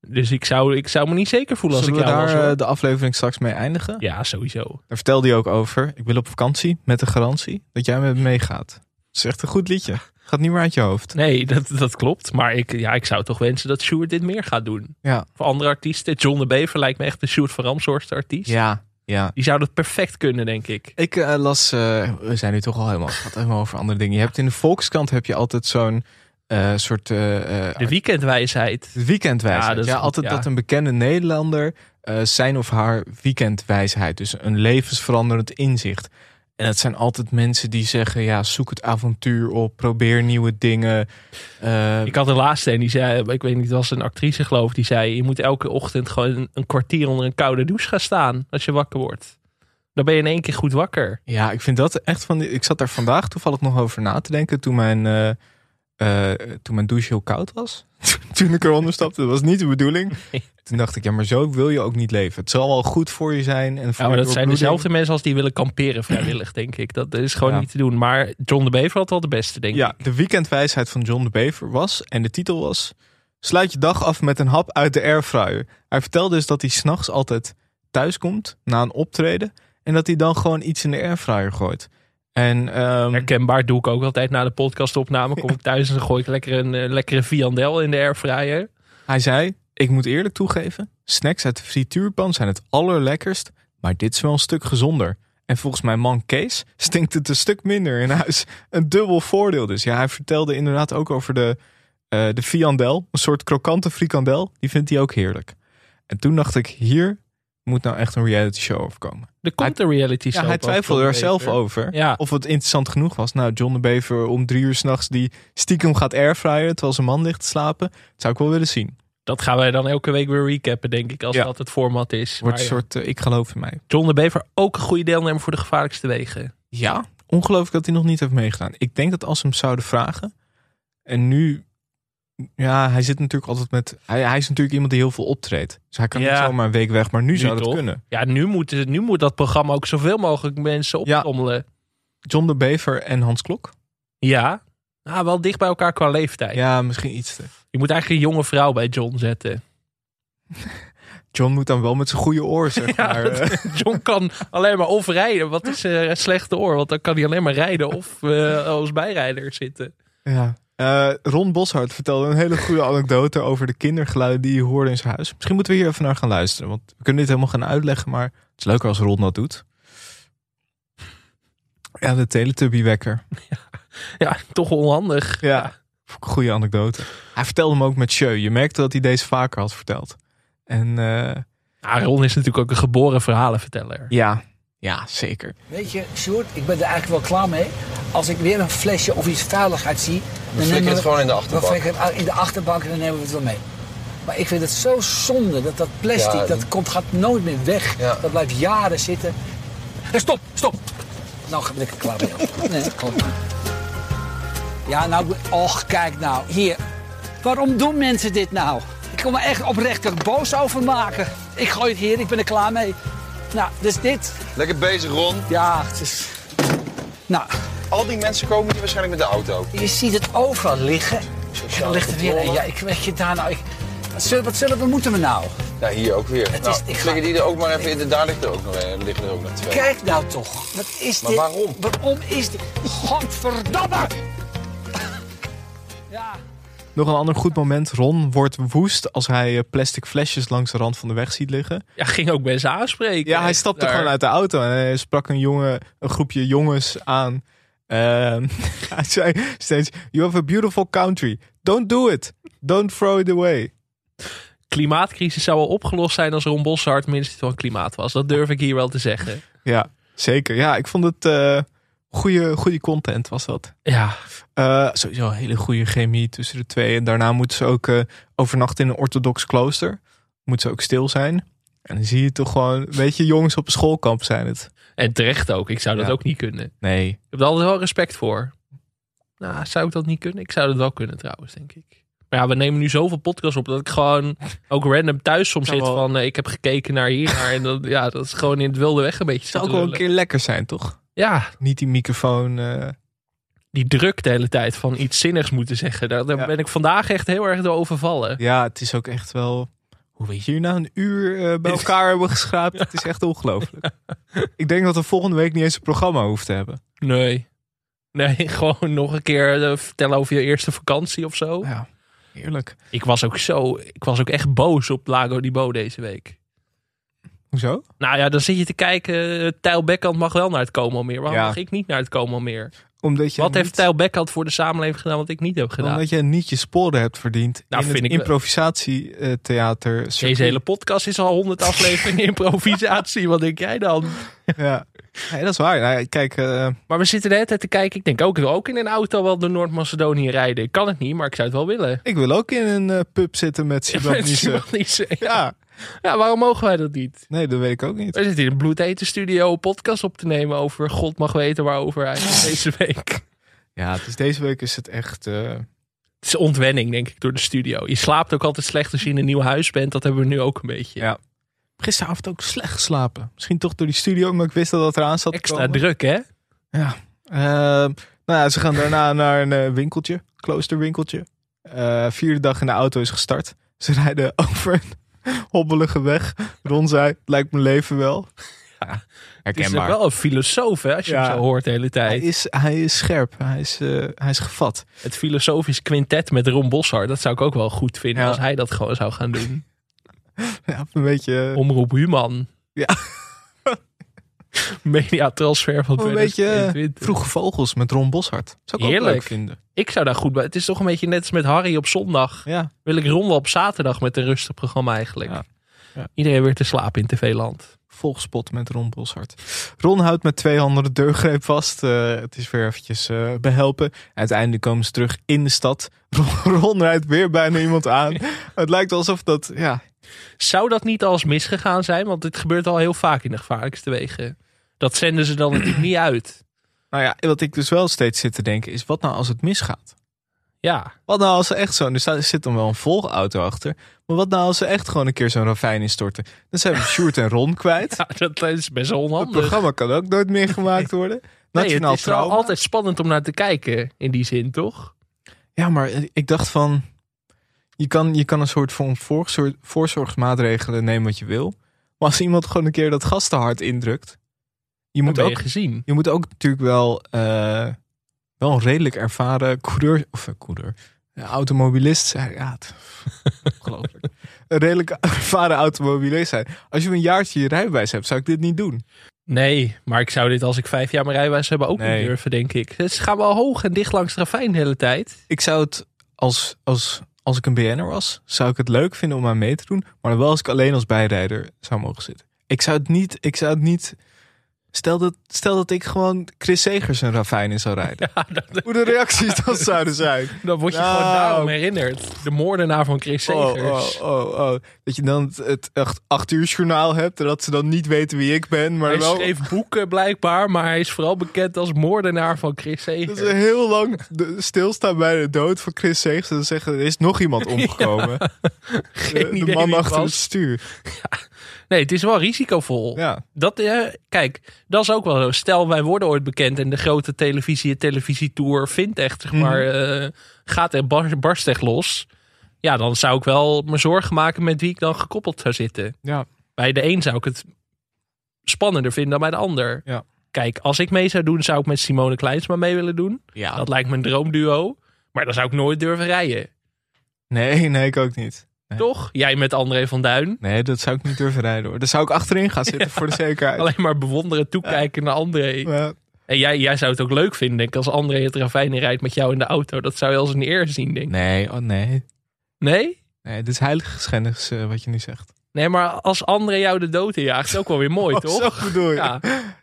B: Dus ik zou, ik zou me niet zeker voelen als
A: zullen we
B: ik jou
A: daar
B: was. hoor.
A: eh, de aflevering straks mee eindigen?
B: Ja, sowieso.
A: Daar vertelde hij ook over. Ik wil op vakantie met de garantie dat jij met me meegaat. Dat is echt een goed liedje. Gaat niet meer uit je hoofd.
B: Nee, dat, dat klopt. Maar ik, ja, ik zou toch wensen dat Sjoerd dit meer gaat doen.
A: Ja.
B: Voor andere artiesten. John de Bever lijkt me echt de Sjoerd van Ramshorst artiest.
A: Ja, ja.
B: Die zou dat perfect kunnen, denk ik.
A: Ik eh, las, eh, we zijn nu toch al helemaal, het gaat helemaal over andere dingen. Je hebt in de Volkskrant heb je altijd zo'n eh, soort eh, eh,
B: De weekendwijsheid.
A: weekendwijsheid.
B: Ja,
A: Ja,
B: dat is goed,
A: altijd
B: ja.
A: dat een bekende Nederlander eh, zijn of haar weekendwijsheid. Dus een levensveranderend inzicht. En dat zijn altijd mensen die zeggen: ja, zoek het avontuur op, probeer nieuwe dingen. Eh,
B: Ik had de laatste en die zei, ik weet niet, het was een actrice geloof ik, die zei, je moet elke ochtend gewoon een kwartier onder een koude douche gaan staan als je wakker wordt. Dan ben je in één keer goed wakker.
A: Ja, ik vind dat echt van. die- Ik zat daar vandaag toevallig nog over na te denken toen mijn, eh, eh, toen mijn douche heel koud was. toen ik eronder stapte, dat was niet de bedoeling.
B: Nee.
A: Toen dacht ik, ja, maar zo wil je ook niet leven. Het zal wel goed voor je zijn. En voor
B: Ja, maar
A: je
B: dat zijn
A: doorbloeding.
B: dezelfde mensen als die willen kamperen vrijwillig, denk ik. Dat is gewoon
A: Ja.
B: niet te doen. Maar John de Bever had wel de beste, denk ik.
A: Ja, de weekendwijsheid van John de Bever was, en de titel was... Sluit je dag af met een hap uit de airfryer. Hij vertelde dus dat hij s'nachts altijd thuis komt na een optreden... en dat hij dan gewoon iets in de airfryer gooit. En ehm,
B: Herkenbaar doe ik ook altijd na de podcastopname. Kom ik thuis en dan gooi ik lekker een eh, lekkere viandel in de airfryer.
A: Hij zei: Ik moet eerlijk toegeven, snacks uit de frituurpan zijn het allerlekkerst, maar dit is wel een stuk gezonder. En volgens mijn man Kees stinkt het een stuk minder in huis. Een dubbel voordeel dus. Ja, hij vertelde inderdaad ook over de, eh, de fiandel, een soort krokante frikandel. Die vindt hij ook heerlijk. En toen dacht ik: Hier moet nou echt een reality show over komen.
B: Er komt een reality show.
A: Ja, hij
B: over
A: twijfelde
B: John
A: er
B: de
A: zelf
B: Bever.
A: over.
B: Ja.
A: Of het interessant genoeg was. Nou, John de Bever om drie uur s'nachts die stiekem gaat airfryen terwijl zijn man ligt te slapen. Dat zou ik wel willen zien.
B: Dat gaan wij dan elke week weer recappen, denk ik, als
A: Ja.
B: dat het format is.
A: Wordt
B: Maar
A: een
B: ja.
A: soort eh, ik geloof in mij.
B: John de Bever ook een goede deelnemer voor de gevaarlijkste wegen.
A: Ja, ongelooflijk dat hij nog niet heeft meegedaan. Ik denk dat als ze hem zouden vragen. En nu, ja, hij zit natuurlijk altijd met. Hij, hij is natuurlijk iemand die heel veel optreedt. Dus hij kan
B: Ja.
A: niet zomaar een week weg. Maar nu,
B: Nu
A: zou dat
B: toch?
A: kunnen.
B: Ja, nu moet, nu moet dat programma ook zoveel mogelijk mensen
A: Ja.
B: optrommelen.
A: John de Bever en Hans Klok.
B: Ja. ja. wel dicht bij elkaar qua leeftijd.
A: Ja, misschien iets eh. te.
B: Je moet eigenlijk een jonge vrouw bij John zetten.
A: John moet dan wel met zijn goede oor, zeg
B: Ja,
A: maar.
B: dat-
A: eh,
B: John kan alleen maar of rijden. Wat is eh, een slechte oor? Want dan kan hij alleen maar rijden of eh, als bijrijder zitten.
A: ja. Eh, Ron Boshart vertelde een hele goede anekdote over de kindergeluiden die je hoorde in zijn huis. Misschien moeten we hier even naar gaan luisteren. Want we kunnen dit helemaal gaan uitleggen, maar het is leuker als Ron dat doet. Ja, de Teletubby-wekker.
B: Ja, toch onhandig.
A: Ja. Goede anekdote. Hij vertelde hem ook met Sjeu. Je merkte dat hij deze vaker had verteld. En eh,
B: Aaron is natuurlijk ook een geboren verhalenverteller.
A: ja. ja, zeker.
J: Weet je, Sjoerd, ik ben er eigenlijk wel klaar mee. Als ik weer een flesje of iets vuilig uit zie... Dan
I: flikker
J: nemen
I: het
J: we-
I: gewoon in de
J: Dan
I: achterbank.
J: flikker het in de achterbank en dan nemen we het wel mee. Maar ik vind het zo zonde dat dat plastic,
I: Ja,
J: dat komt, gaat nooit meer weg.
I: Ja.
J: Dat blijft jaren zitten. Hé, stop, stop! Nou ben ik er klaar mee. Nee, klopt. Ja, nou, och, kijk nou. Hier, waarom doen mensen dit nou? Ik kom er echt oprecht er boos over maken. Ik gooi het hier, ik ben er klaar mee. Nou, dus dit.
I: Lekker bezig, Ron.
J: Ja, het is... Nou,
I: Al die mensen komen hier waarschijnlijk met de auto.
J: je ziet het overal liggen. En dan ligt er weer een. Ja, ik weet je daar nou. Ik, wat, zullen, wat zullen we moeten we nou?
I: Ja, hier ook weer. nou,
J: is- ik ga-
I: flikker die er ook maar even in. Daar ligt er ook nog, een- liggen er ook nog twee.
J: Kijk nou toch. Wat is
I: Maar
J: dit?
I: waarom?
J: Waarom is dit? Godverdamme! Ja.
A: Nog een ander goed moment. Ron wordt woest als hij eh, plastic flesjes langs de rand van de weg ziet liggen.
B: Ja, ging ook mensen aanspreken.
A: Ja, hij stapte
B: Daar.
A: gewoon uit de auto en hij sprak een, jongen, een groepje jongens aan. Ehm, hij zei steeds, you have a beautiful country. Don't do it. Don't throw it away.
B: Klimaatcrisis zou al opgelost zijn als Ron Boshart minister van Klimaat was. Dat durf ik hier wel te zeggen.
A: Ja, zeker. Ja, ik vond het eh goede, goede content was dat.
B: Ja,
A: Eh, sowieso een hele goede chemie tussen de twee. En daarna moeten ze ook eh, overnachten in een orthodox klooster. Moeten ze ook stil zijn. En dan zie je toch gewoon, weet je, jongens op een schoolkamp zijn het.
B: en terecht ook. Ik zou dat
A: Ja.
B: ook niet kunnen.
A: Nee.
B: Ik heb er altijd wel respect voor. Nou, zou ik dat niet kunnen? Ik zou dat wel kunnen trouwens, denk ik. Maar ja, we nemen nu zoveel podcasts op dat ik gewoon ook random thuis soms
A: Zou
B: zit
A: wel-
B: van... eh, ik heb gekeken naar hier naar en dat, ja, dat is gewoon in het wilde weg een beetje
A: Het zou
B: te
A: ook wel een
B: lullen.
A: keer lekker zijn, toch?
B: Ja,
A: Niet die microfoon. eh,
B: die druk de hele tijd van iets zinnigs moeten zeggen. Daar, daar
A: Ja.
B: ben ik vandaag echt heel erg door overvallen.
A: Ja, het is ook echt wel. Hoe we hier na een uur eh, bij elkaar hebben geschraapt. Het is echt ongelooflijk. Ik denk dat we volgende week niet eens een programma hoeven te hebben.
B: Nee. Nee, gewoon nog een keer eh, vertellen over je eerste vakantie of zo.
A: Ja, heerlijk.
B: Ik was ook zo, ik was ook echt boos op Lago di Bo deze week.
A: Hoezo?
B: Nou ja, dan zit je te kijken. eh, Tijl Bekkant mag wel naar het Como meer. Waarom
A: Ja.
B: mag ik niet Oh, naar het Como meer?
A: Omdat je
B: Wat
A: niet,
B: heeft Tijl Beckhand voor de samenleving gedaan wat ik niet heb gedaan?
A: Omdat je niet je sporen hebt verdiend
B: Nou,
A: in
B: vind
A: het
B: ik wel.
A: improvisatietheater.
B: Deze hele podcast is al 100 afleveringen improvisatie. Wat denk jij dan?
A: Ja, Nee, dat is waar. Nou, kijk, eh,
B: Maar we zitten de hele tijd te kijken. Ik denk ook, ik wil ook in een auto wel door Noord-Macedonië rijden. Ik kan het niet, maar ik zou het wel willen.
A: ik wil ook in een eh, pub zitten met Sibab
B: Mensen
A: Nietzsche.
B: mag niet eh. zeggen.
A: Ja,
B: Ja, waarom mogen wij dat niet?
A: nee, dat weet ik ook niet.
B: We zitten in een bloedeten studio een podcast op te nemen over God mag weten waarover hij is deze week.
A: Ja, dus deze week is het echt... eh,
B: Het is ontwenning, denk ik, door de studio. Je slaapt ook altijd slecht als je in een nieuw huis bent. Dat hebben we nu ook een beetje.
A: Ja. gisteravond ook slecht geslapen. Misschien toch door die studio, maar ik wist dat dat eraan zat te
B: Extra
A: komen.
B: druk, hè?
A: Ehm, nou ja, ze gaan daarna naar een eh, winkeltje, kloosterwinkeltje. Eh, vierde dag in de auto is gestart. Ze rijden over een hobbelige weg. Ron zei, "Het lijkt mijn leven wel.
B: Ja, Het is ook
A: herkenbaar.
B: wel een filosoof, hè, als je
A: Ja.
B: hem zo hoort de hele
A: Hij
B: tijd.
A: is, hij is scherp, hij is, eh, hij is gevat.
B: Het filosofisch quintet met Ron Boshart. Dat zou ik ook wel goed vinden
A: Ja.
B: als hij dat gewoon zou gaan doen.
A: Ja, een beetje,
B: Omroep Human.
A: Ja.
B: Mediatransfer van
A: een beetje eh,
B: 2022.
A: vroege vogels met Ron Boshart. Zou ik ook
B: Heerlijk.
A: leuk vinden.
B: Ik zou daar goed bij. Het is toch een beetje net als met Harry op zondag.
A: Ja,
B: Wil ik Ron wel op zaterdag met een rustig programma eigenlijk.
A: Ja. Ja.
B: Iedereen weer te slapen in TV-land.
A: volgspot met Ron Boshart. Ron houdt met twee handen de deurgreep vast. Eh, het is weer eventjes eh, behelpen. Uiteindelijk komen ze terug in de stad. Ron, Ron rijdt weer bijna iemand aan. Het lijkt alsof dat, ja,
B: Zou dat niet als misgegaan zijn? Want dit gebeurt al heel vaak in de gevaarlijkste wegen. Dat zenden ze dan natuurlijk niet uit.
A: Nou ja, wat ik dus wel steeds zit te denken is, wat nou als het misgaat?
B: Ja,
A: Wat nou als ze echt zo'n, er staat- er zit dan wel een volgauto achter, maar wat nou als ze echt gewoon een keer zo'n ravijn instorten? Dan zijn we Sjoerd en Ron kwijt.
B: Ja, dat is best wel
A: Het
B: onhandig.
A: programma kan ook nooit meer gemaakt worden.
B: Nee,
A: Nationaal
B: het is wel
A: trauma.
B: altijd spannend om naar te kijken, in die zin, toch?
A: Ja, maar eh, ik dacht van, je kan, je kan een soort van voorzor- voorzorgsmaatregelen nemen wat je wil, maar als iemand gewoon een keer dat gas te hard indrukt, je
B: Dat
A: moet
B: ben je
A: ook,
B: gezien.
A: je moet ook natuurlijk wel, eh, wel een redelijk ervaren coureur, of eh, coureur, eh, automobilist zijn. Ja, het- ongelooflijk. Een redelijk ervaren automobilist zijn. Als je een jaartje je rijbewijs hebt, zou ik dit niet doen.
B: Nee, maar ik zou dit als ik vijf jaar mijn rijwijs hebben ook
A: Nee.
B: niet durven, denk ik. Ze gaan wel hoog en dicht langs het ravijn de hele tijd.
A: Ik zou het als, als, als ik een BN'er was, zou ik het leuk vinden om aan mee te doen, maar dan wel als ik alleen als bijrijder zou mogen zitten. Ik zou het niet, ik zou het niet. Stel dat, stel dat ik gewoon Chris Segers een ravijn in zou rijden. Hoe de reacties dan zouden zijn.
B: Dan word je
A: Nou.
B: gewoon daarom herinnerd. De moordenaar van Chris Segers.
A: Oh, oh, oh, oh. Dat je dan het, het echt acht uur journaal hebt. En dat ze dan niet weten wie ik ben. Maar
B: Hij
A: wel.
B: schreef boeken blijkbaar, maar hij is vooral bekend als moordenaar van Chris
A: Dat
B: Segers.
A: ze heel lang de- stilstaan bij de dood van Chris Segers. En dan zeggen, er is nog iemand omgekomen.
B: Geen
A: de,
B: idee
A: de man
B: wie het
A: achter het
B: was.
A: stuur.
B: Nee, het is wel risicovol.
A: Ja.
B: Dat, eh, kijk, dat is ook wel zo. Stel, wij worden ooit bekend en de grote televisie, het televisietour vindt echt,
A: Mhm.
B: zeg maar, eh, gaat er bar, barst echt los. Ja, dan zou ik wel me zorgen maken met wie ik dan gekoppeld zou zitten.
A: Ja.
B: Bij de een zou ik het spannender vinden dan bij de ander.
A: Ja.
B: Kijk, als ik mee zou doen, zou ik met Simone Kleinsma mee willen doen.
A: ja.
B: Dat lijkt me een droomduo. Maar dan zou ik nooit durven rijden.
A: Nee, nee, ik ook niet.
B: Toch? Jij met André van Duin.
A: Nee, dat zou ik niet durven rijden hoor. Daar zou ik achterin gaan zitten voor de zekerheid.
B: Alleen maar bewonderen, toekijken naar André.
A: Ja.
B: En jij, jij zou het ook leuk vinden, denk ik, als André het ravijn in rijdt met jou in de auto. Dat zou je als een eer zien, denk ik.
A: nee, oh nee.
B: Nee?
A: Nee, dit is heilig geschennis eh, wat je nu zegt.
B: Nee, maar als André jou de dood injaagt, is ook wel weer mooi,
A: Oh,
B: toch?
A: Zo bedoel je.
B: Ja.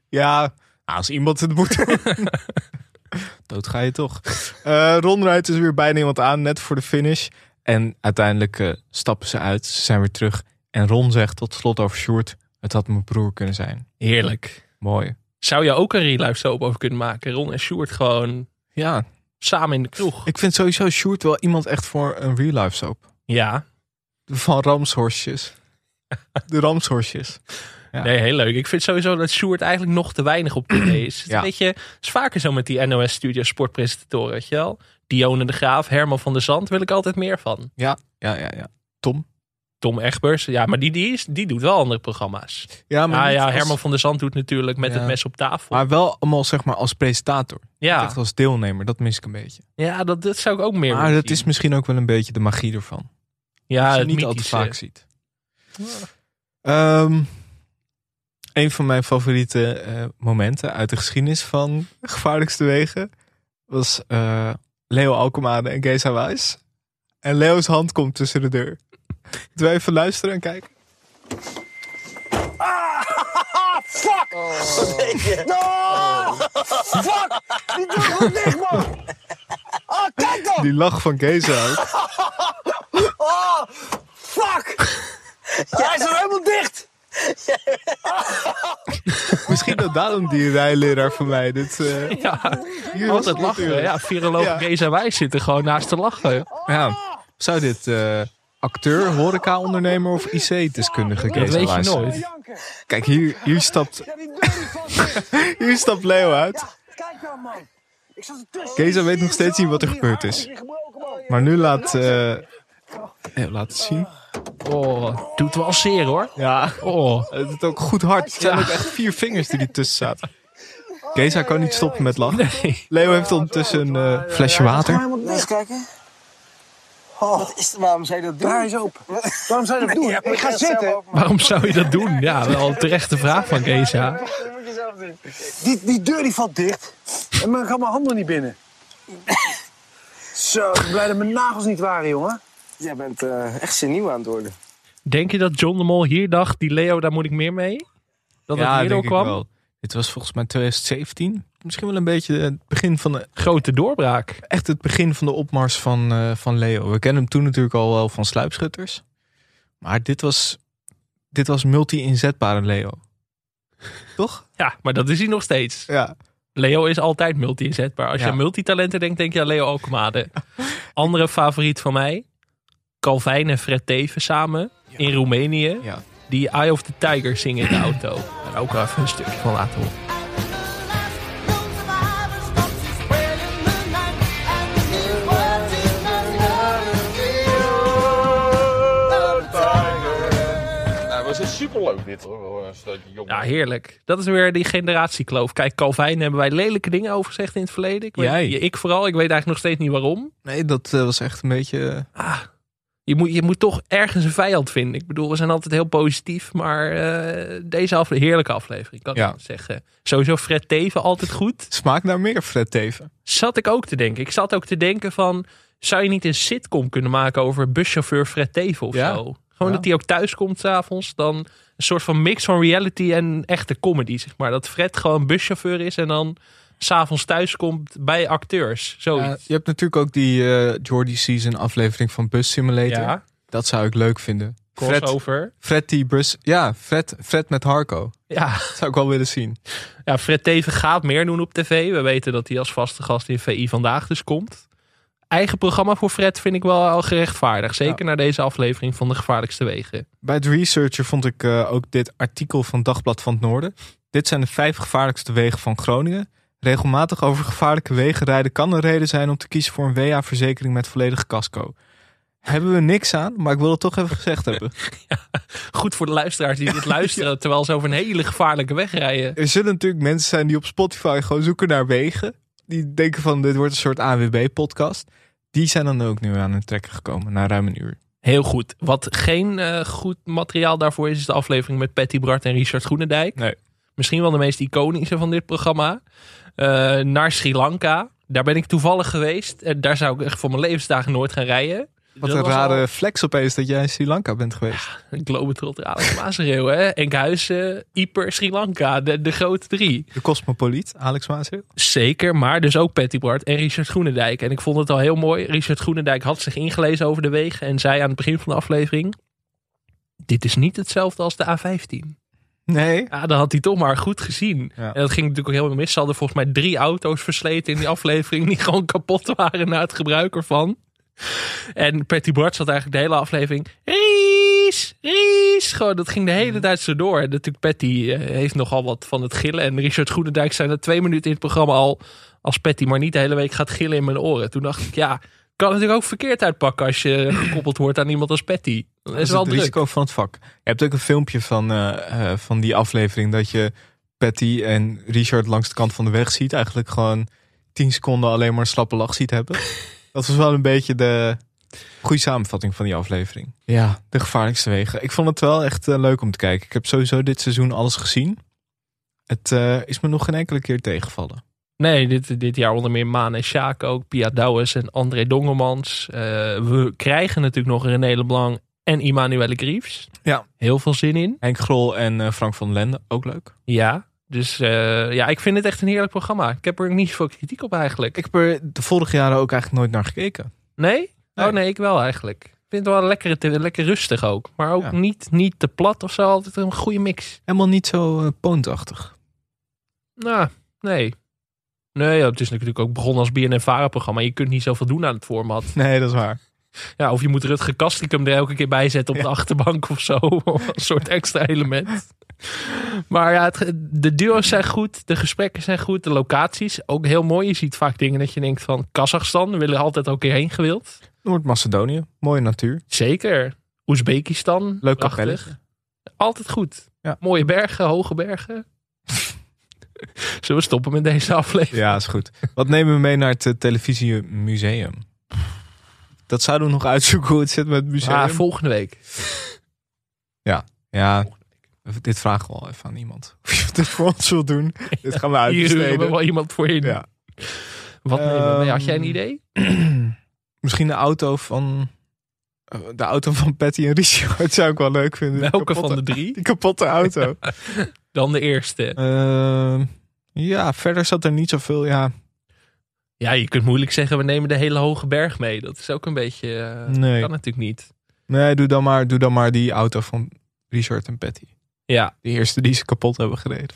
A: Ja, nou, als iemand het moet doen. Dood ga je toch. Eh Ron rijdt dus weer bijna iemand aan, net voor de finish. En uiteindelijk eh, stappen ze uit, ze zijn weer terug. En Ron zegt tot slot over Sjoerd, het had mijn broer kunnen zijn.
B: Heerlijk.
A: Mooi.
B: Zou je ook een real life soap over kunnen maken? Ron en Sjoerd gewoon
A: Ja,
B: samen in de kroeg.
A: ik vind sowieso Sjoerd wel iemand echt voor een real life soap.
B: Ja.
A: Van ramshorsjes. De ramshorsjes. Ja.
B: Nee, heel leuk. Ik vind sowieso dat Sjoerd eigenlijk nog te weinig op tv is.
A: Ja.
B: Weet je, het is vaker zo met die NOS Studio sportpresentatoren, weet je wel? Dione de Graaf, Herman van der Zand, wil ik altijd meer van.
A: Ja, ja, ja. ja. Tom.
B: Tom Egbers, ja, maar die, die, is, die doet wel andere programma's.
A: Ja,
B: Ja,
A: niet
B: ja,
A: als-
B: Herman van der Zand doet natuurlijk met
A: Ja.
B: het mes op tafel.
A: Maar wel allemaal zeg maar als presentator. Niet
B: ja,
A: Echt als deelnemer, dat mis ik een beetje.
B: ja dat, dat zou ik ook meer
A: Maar
B: willen
A: dat
B: zien.
A: is misschien ook wel een beetje de magie ervan.
B: ja,
A: dat je
B: het eh,
A: niet
B: mythische.
A: altijd vaak ziet. Ehm, een van mijn favoriete eh, momenten uit de geschiedenis van Gevaarlijkste Wegen was eh, Leo Alkemade en Geza Wijs. En Leo's hand komt tussen de deur. Doe even luisteren en kijken.
E: Ah, Fuck! Wat deed je? Fuck! Die doet goed dicht, man! Oh, kijk dan!
A: Die lach van Geza ook.
E: Oh, fuck! Hij is er helemaal dicht!
A: Misschien dat daarom die rijleraar van mij dit... eh,
B: Ja,
A: hier was het
B: altijd lachen.
A: natuurlijk.
B: Ja, viroloog
A: Ja.
B: Kees en wij zitten gewoon naast te lachen.
A: Ja, zou dit eh, acteur, horeca-ondernemer of IC-deskundige
B: Dat
A: Geza
B: weet je
A: Wijs zijn?
B: nooit.
A: Kijk, hier, hier, stapt, hier stapt Leo uit.
E: Kijk nou, man! Ik zat ertussen.
A: Geza weet nog steeds niet wat er gebeurd is. Maar nu laat... eh eh, laat het zien.
B: Oh, doet wel zeer hoor.
A: Ja,
B: Oh,
A: het is ook goed hard. Het zijn ook echt vier vingers die er tussen zaten. Geza kan niet stoppen met lachen. Leo heeft ondertussen een eh, flesje water.
E: Laat eens kijken. Wat is er, waarom zou je dat doen? Daar is open. Waarom zou je dat doen? ik ga zitten.
B: waarom zou je dat doen? Ja, wel een terechte vraag van Kees. ja.
E: Die, die deur die valt dicht. En dan kan mijn handen niet binnen. Zo, ik ben blij dat mijn nagels niet waren, jongen. Jij bent eh, echt zenuw aan het worden.
B: Denk je dat John de Mol hier dacht, die Leo, daar moet ik meer mee? Dat het hierdoor kwam?
A: Dit was volgens mij 2017. Misschien wel een beetje het begin van de,
B: Grote doorbraak.
A: echt het begin van de opmars van, eh, van Leo. We kennen hem toen natuurlijk al wel van sluipschutters. Maar dit was, dit was multi-inzetbare Leo. Toch?
B: Ja, maar dat is hij nog steeds.
A: Ja.
B: Leo is altijd multi-inzetbaar. Als je
A: Ja.
B: aan multitalenten denkt, denk je aan Leo Alkemade. Andere favoriet van mij, Calvijn en Fred Teven samen in Roemenië.
A: Ja.
B: Die Eye of the Tiger zingen in de auto. Daar ook wel even een stukje van laten horen.
I: Nou, was het superleuk dit hoor. Een stukje jong.
B: Ja, heerlijk. Dat is weer die generatiekloof. Kijk, Calvijn hebben wij lelijke dingen over gezegd in het verleden. Ik, weet,
A: Jij.
B: ja, ik vooral. Ik weet eigenlijk nog steeds niet waarom.
A: Nee, dat eh, was echt een beetje...
B: Je moet, je moet toch ergens een vijand vinden. Ik bedoel, we zijn altijd heel positief. Maar eh, deze afle heerlijke aflevering, kan
A: Ja.
B: ik zeggen. Sowieso Fred Teven altijd goed.
A: Smaakt naar meer, Fred Teven.
B: zat ik ook te denken. Ik zat ook te denken van, zou je niet een sitcom kunnen maken over buschauffeur Fred Teven of
A: Ja.
B: zo?
A: Ja.
B: Gewoon dat hij ook thuis komt s'avonds. Dan een soort van mix van reality en echte comedy, zeg maar. Dat Fred gewoon buschauffeur is en dan s'avonds thuis komt bij acteurs.
A: Ja,
B: Zoiets.
A: je hebt natuurlijk ook die eh Jordy Season aflevering van Bus Simulator.
B: Ja,
A: Dat zou ik leuk vinden. Fred,
B: crossover.
A: Fred die bus... Ja, Fred, Fred met Harco.
B: Ja.
A: Dat zou ik wel willen zien.
B: ja, Fred Teven gaat meer doen op tv. We weten dat hij als vaste gast in VI Vandaag dus komt. Eigen programma voor Fred vind ik wel al gerechtvaardigd. Zeker na deze aflevering van De Gevaarlijkste Wegen.
A: Bij het researcher vond ik eh, ook dit artikel van Dagblad van het Noorden. Dit zijn de vijf gevaarlijkste wegen van Groningen. Regelmatig over gevaarlijke wegen rijden kan een reden zijn om te kiezen voor een WA-verzekering met volledig casco. Hebben we niks aan, maar ik wil het toch even gezegd hebben.
B: goed voor de luisteraars die dit luisteren terwijl ze over een hele gevaarlijke weg rijden.
A: Er zullen natuurlijk mensen zijn die op Spotify gewoon zoeken naar wegen. Die denken van dit wordt een soort AWB-podcast. Die zijn dan ook nu aan hun trekken gekomen na ruim een uur.
B: Heel goed. Wat geen eh, goed materiaal daarvoor is, is de aflevering met Patty Bart en Richard Groenendijk.
A: Nee.
B: Misschien wel de meest iconische van dit programma. Eh, naar Sri Lanka. Daar ben ik toevallig geweest. En daar zou ik echt voor mijn levensdagen nooit gaan rijden.
A: Wat
B: Dat
A: een
B: was
A: rare
B: al-
A: flex opeens dat jij in Sri Lanka bent geweest.
B: Globetrotter, Alex Maasreel, hè. Enkhuizen, Ieper, Sri Lanka. De, de grote drie.
A: De cosmopoliet, Alex Maasel.
B: Zeker, maar dus ook Patty Bart en Richard Groenendijk. En ik vond het al heel mooi. Richard Groenendijk had zich ingelezen over de wegen en zei aan het begin van de aflevering... Dit is niet hetzelfde als de A15.
A: Nee.
B: Ja, dan had hij toch maar goed gezien.
A: Ja.
B: En dat ging natuurlijk ook helemaal mis. Ze hadden volgens mij drie auto's versleten in die aflevering... die gewoon kapot waren na het gebruik ervan. En Patty Bart zat eigenlijk de hele aflevering... Ries, Ries. Gewoon, dat ging de hele
A: Mhm.
B: tijd zo door. En natuurlijk, Patty eh, heeft nogal wat van het gillen. En Richard Groenendijk zei na twee minuten in het programma al... als Patty maar niet de hele week gaat gillen in mijn oren. Toen dacht ik, ja... Kan het natuurlijk ook verkeerd uitpakken als je gekoppeld wordt aan iemand als Patty. Dat is
A: Dat
B: wel
A: het
B: druk.
A: risico van het vak. Je hebt ook een filmpje van, eh, eh, van die aflevering dat je Patty en Richard langs de kant van de weg ziet. Eigenlijk gewoon 10 seconden alleen maar een slappe lach ziet hebben. dat was wel een beetje de goede samenvatting van die aflevering. Ja, de gevaarlijkste wegen. Ik vond het wel echt eh, leuk om te kijken. Ik heb sowieso dit seizoen alles gezien. Het eh, is me nog geen enkele keer tegengevallen.
B: Nee, dit, dit jaar onder meer Maan en Sjaak ook. Pia Douwes en André Dongemans. Eh, we krijgen natuurlijk nog René Leblanc en Immanuelle Griefs.
A: Ja.
B: Heel veel zin in.
A: Henk Grol en eh, Frank van Lende, ook leuk.
B: Ja. Dus eh, ja, ik vind het echt een heerlijk programma. Ik heb er niet veel kritiek op eigenlijk.
A: Ik heb er de vorige jaren ook eigenlijk nooit naar gekeken.
B: Nee?
A: Nee.
B: Oh nee, ik wel eigenlijk. Ik vind het wel lekker, te- lekker rustig ook. Maar ook
A: Ja.
B: niet, niet te plat of zo. Altijd een goede mix.
A: Helemaal niet zo eh, poontachtig.
B: Nou, nee. Nee, ja, het is natuurlijk ook begonnen als BNNVARA-programma. Je kunt niet zoveel doen aan het format.
A: Nee, dat is waar.
B: Ja, of je moet Rutger Kastrikum er elke keer bij zetten op de achterbank of zo. Als een soort extra element. Maar ja, het- de duo's zijn goed. De gesprekken zijn goed. De locaties ook heel mooi. Je ziet vaak dingen dat je denkt van Kazachstan. We willen altijd ook een keer heen gewild.
A: Noord-Macedonië, mooie natuur.
B: Zeker. Oezbekistan.
A: Leuk
B: prachtig.
A: kapelletje.
B: Altijd goed.
A: Ja.
B: Mooie bergen, hoge bergen. Zullen we stoppen met deze aflevering?
A: Ja, is goed. Wat nemen we mee naar het eh, televisiemuseum? Dat zouden we nog uitzoeken hoe het zit met het museum.
B: Ah, volgende week.
A: Ja, dit vragen we al even aan iemand. Of je dit voor ons wil doen. Dit gaan we
B: Hier hebben we
A: uitbesteden.
B: wel iemand voor je.
A: Ja.
B: Wat nemen we mee? Had jij een
A: Ehm,
B: idee?
A: Misschien de auto van... eh, De auto van Patty en Richard zou ik wel leuk vinden. Die
B: Welke
A: kapotte-
B: van de drie?
A: Die kapotte auto.
B: Dan de eerste.
A: Ehm, ja, verder zat er niet zoveel. Ja,
B: Ja, je kunt moeilijk zeggen, we nemen de hele hoge berg mee. Dat is ook een beetje... eh,
A: Nee.
B: Kan natuurlijk niet.
A: nee, doe dan, maar, doe dan maar die auto van Richard en Patty.
B: Ja,
A: De eerste die ze kapot hebben gereden.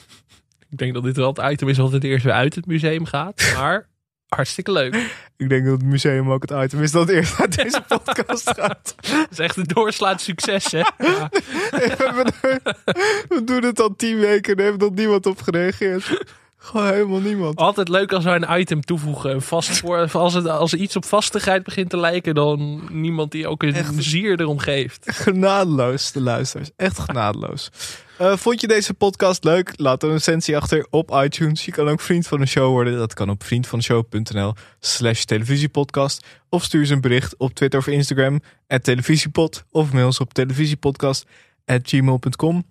B: ik denk dat dit wel het item is wat het eerst weer uit het museum gaat. Maar hartstikke leuk.
A: Ik denk dat het museum ook het item is dat eerst uit deze podcast gaat.
B: Dat is echt een doorslaand succes, hè? Ja.
A: We doen het al tien weken en er heeft nog niemand op gereageerd. Gewoon helemaal niemand.
B: Altijd leuk als we een item toevoegen. Een vast voor, als, het, als er iets op vastigheid begint te lijken, dan niemand die ook een plezier erom geeft.
A: Genadeloos, de luisteraars. Echt genadeloos. Eh, vond je deze podcast leuk? Laat een recensie achter op iTunes. Je kan ook vriend van de show worden. Dat kan op vriendvandeshow.nl slash televisiepodcast. Of stuur eens een bericht op Twitter of Instagram. At televisiepod. Of mail ons op televisiepodcast at gmail.com.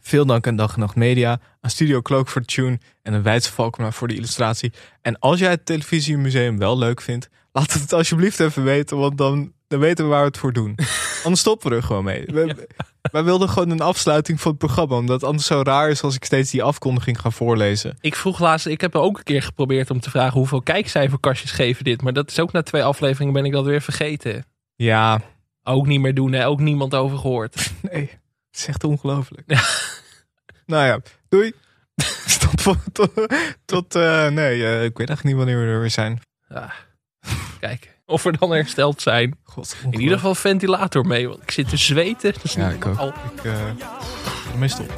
A: Veel dank aan Dag en Nacht Media, aan Studio Cloak voor de tune en een Weidse Valkmaar voor de illustratie. En als jij het Televisiemuseum wel leuk vindt, laat het alsjeblieft even weten, want dan, dan weten we waar we het voor doen. Anders stoppen we er gewoon mee. We, Wij wilden gewoon een afsluiting van het programma, omdat het anders zo raar is als ik steeds die afkondiging ga voorlezen.
B: Ik vroeg laatst, ik heb ook een keer geprobeerd om te vragen hoeveel kijkcijferkastjes geven dit. Maar dat is ook na twee afleveringen ben ik dat weer vergeten.
A: Ja,
B: Ook niet meer doen, hè? Ook niemand over gehoord.
A: nee, het is echt ongelooflijk. nou ja, doei. tot, vol- tot, tot, eh, nee, eh, ik weet echt niet wanneer we er weer zijn.
B: Kijk, of we dan hersteld zijn.
A: God,
B: In ieder geval ventilator mee, want ik zit te zweten. Dat is
A: Ja,
B: niet
A: ik ook.
B: normaal.
A: Ik, eh, ik mis het op.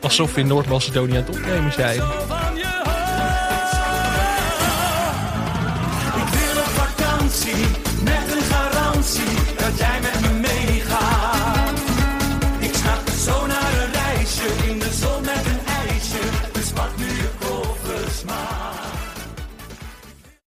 B: Alsof we in Noord-Macedonië aan het opnemen zijn.
E: Over dus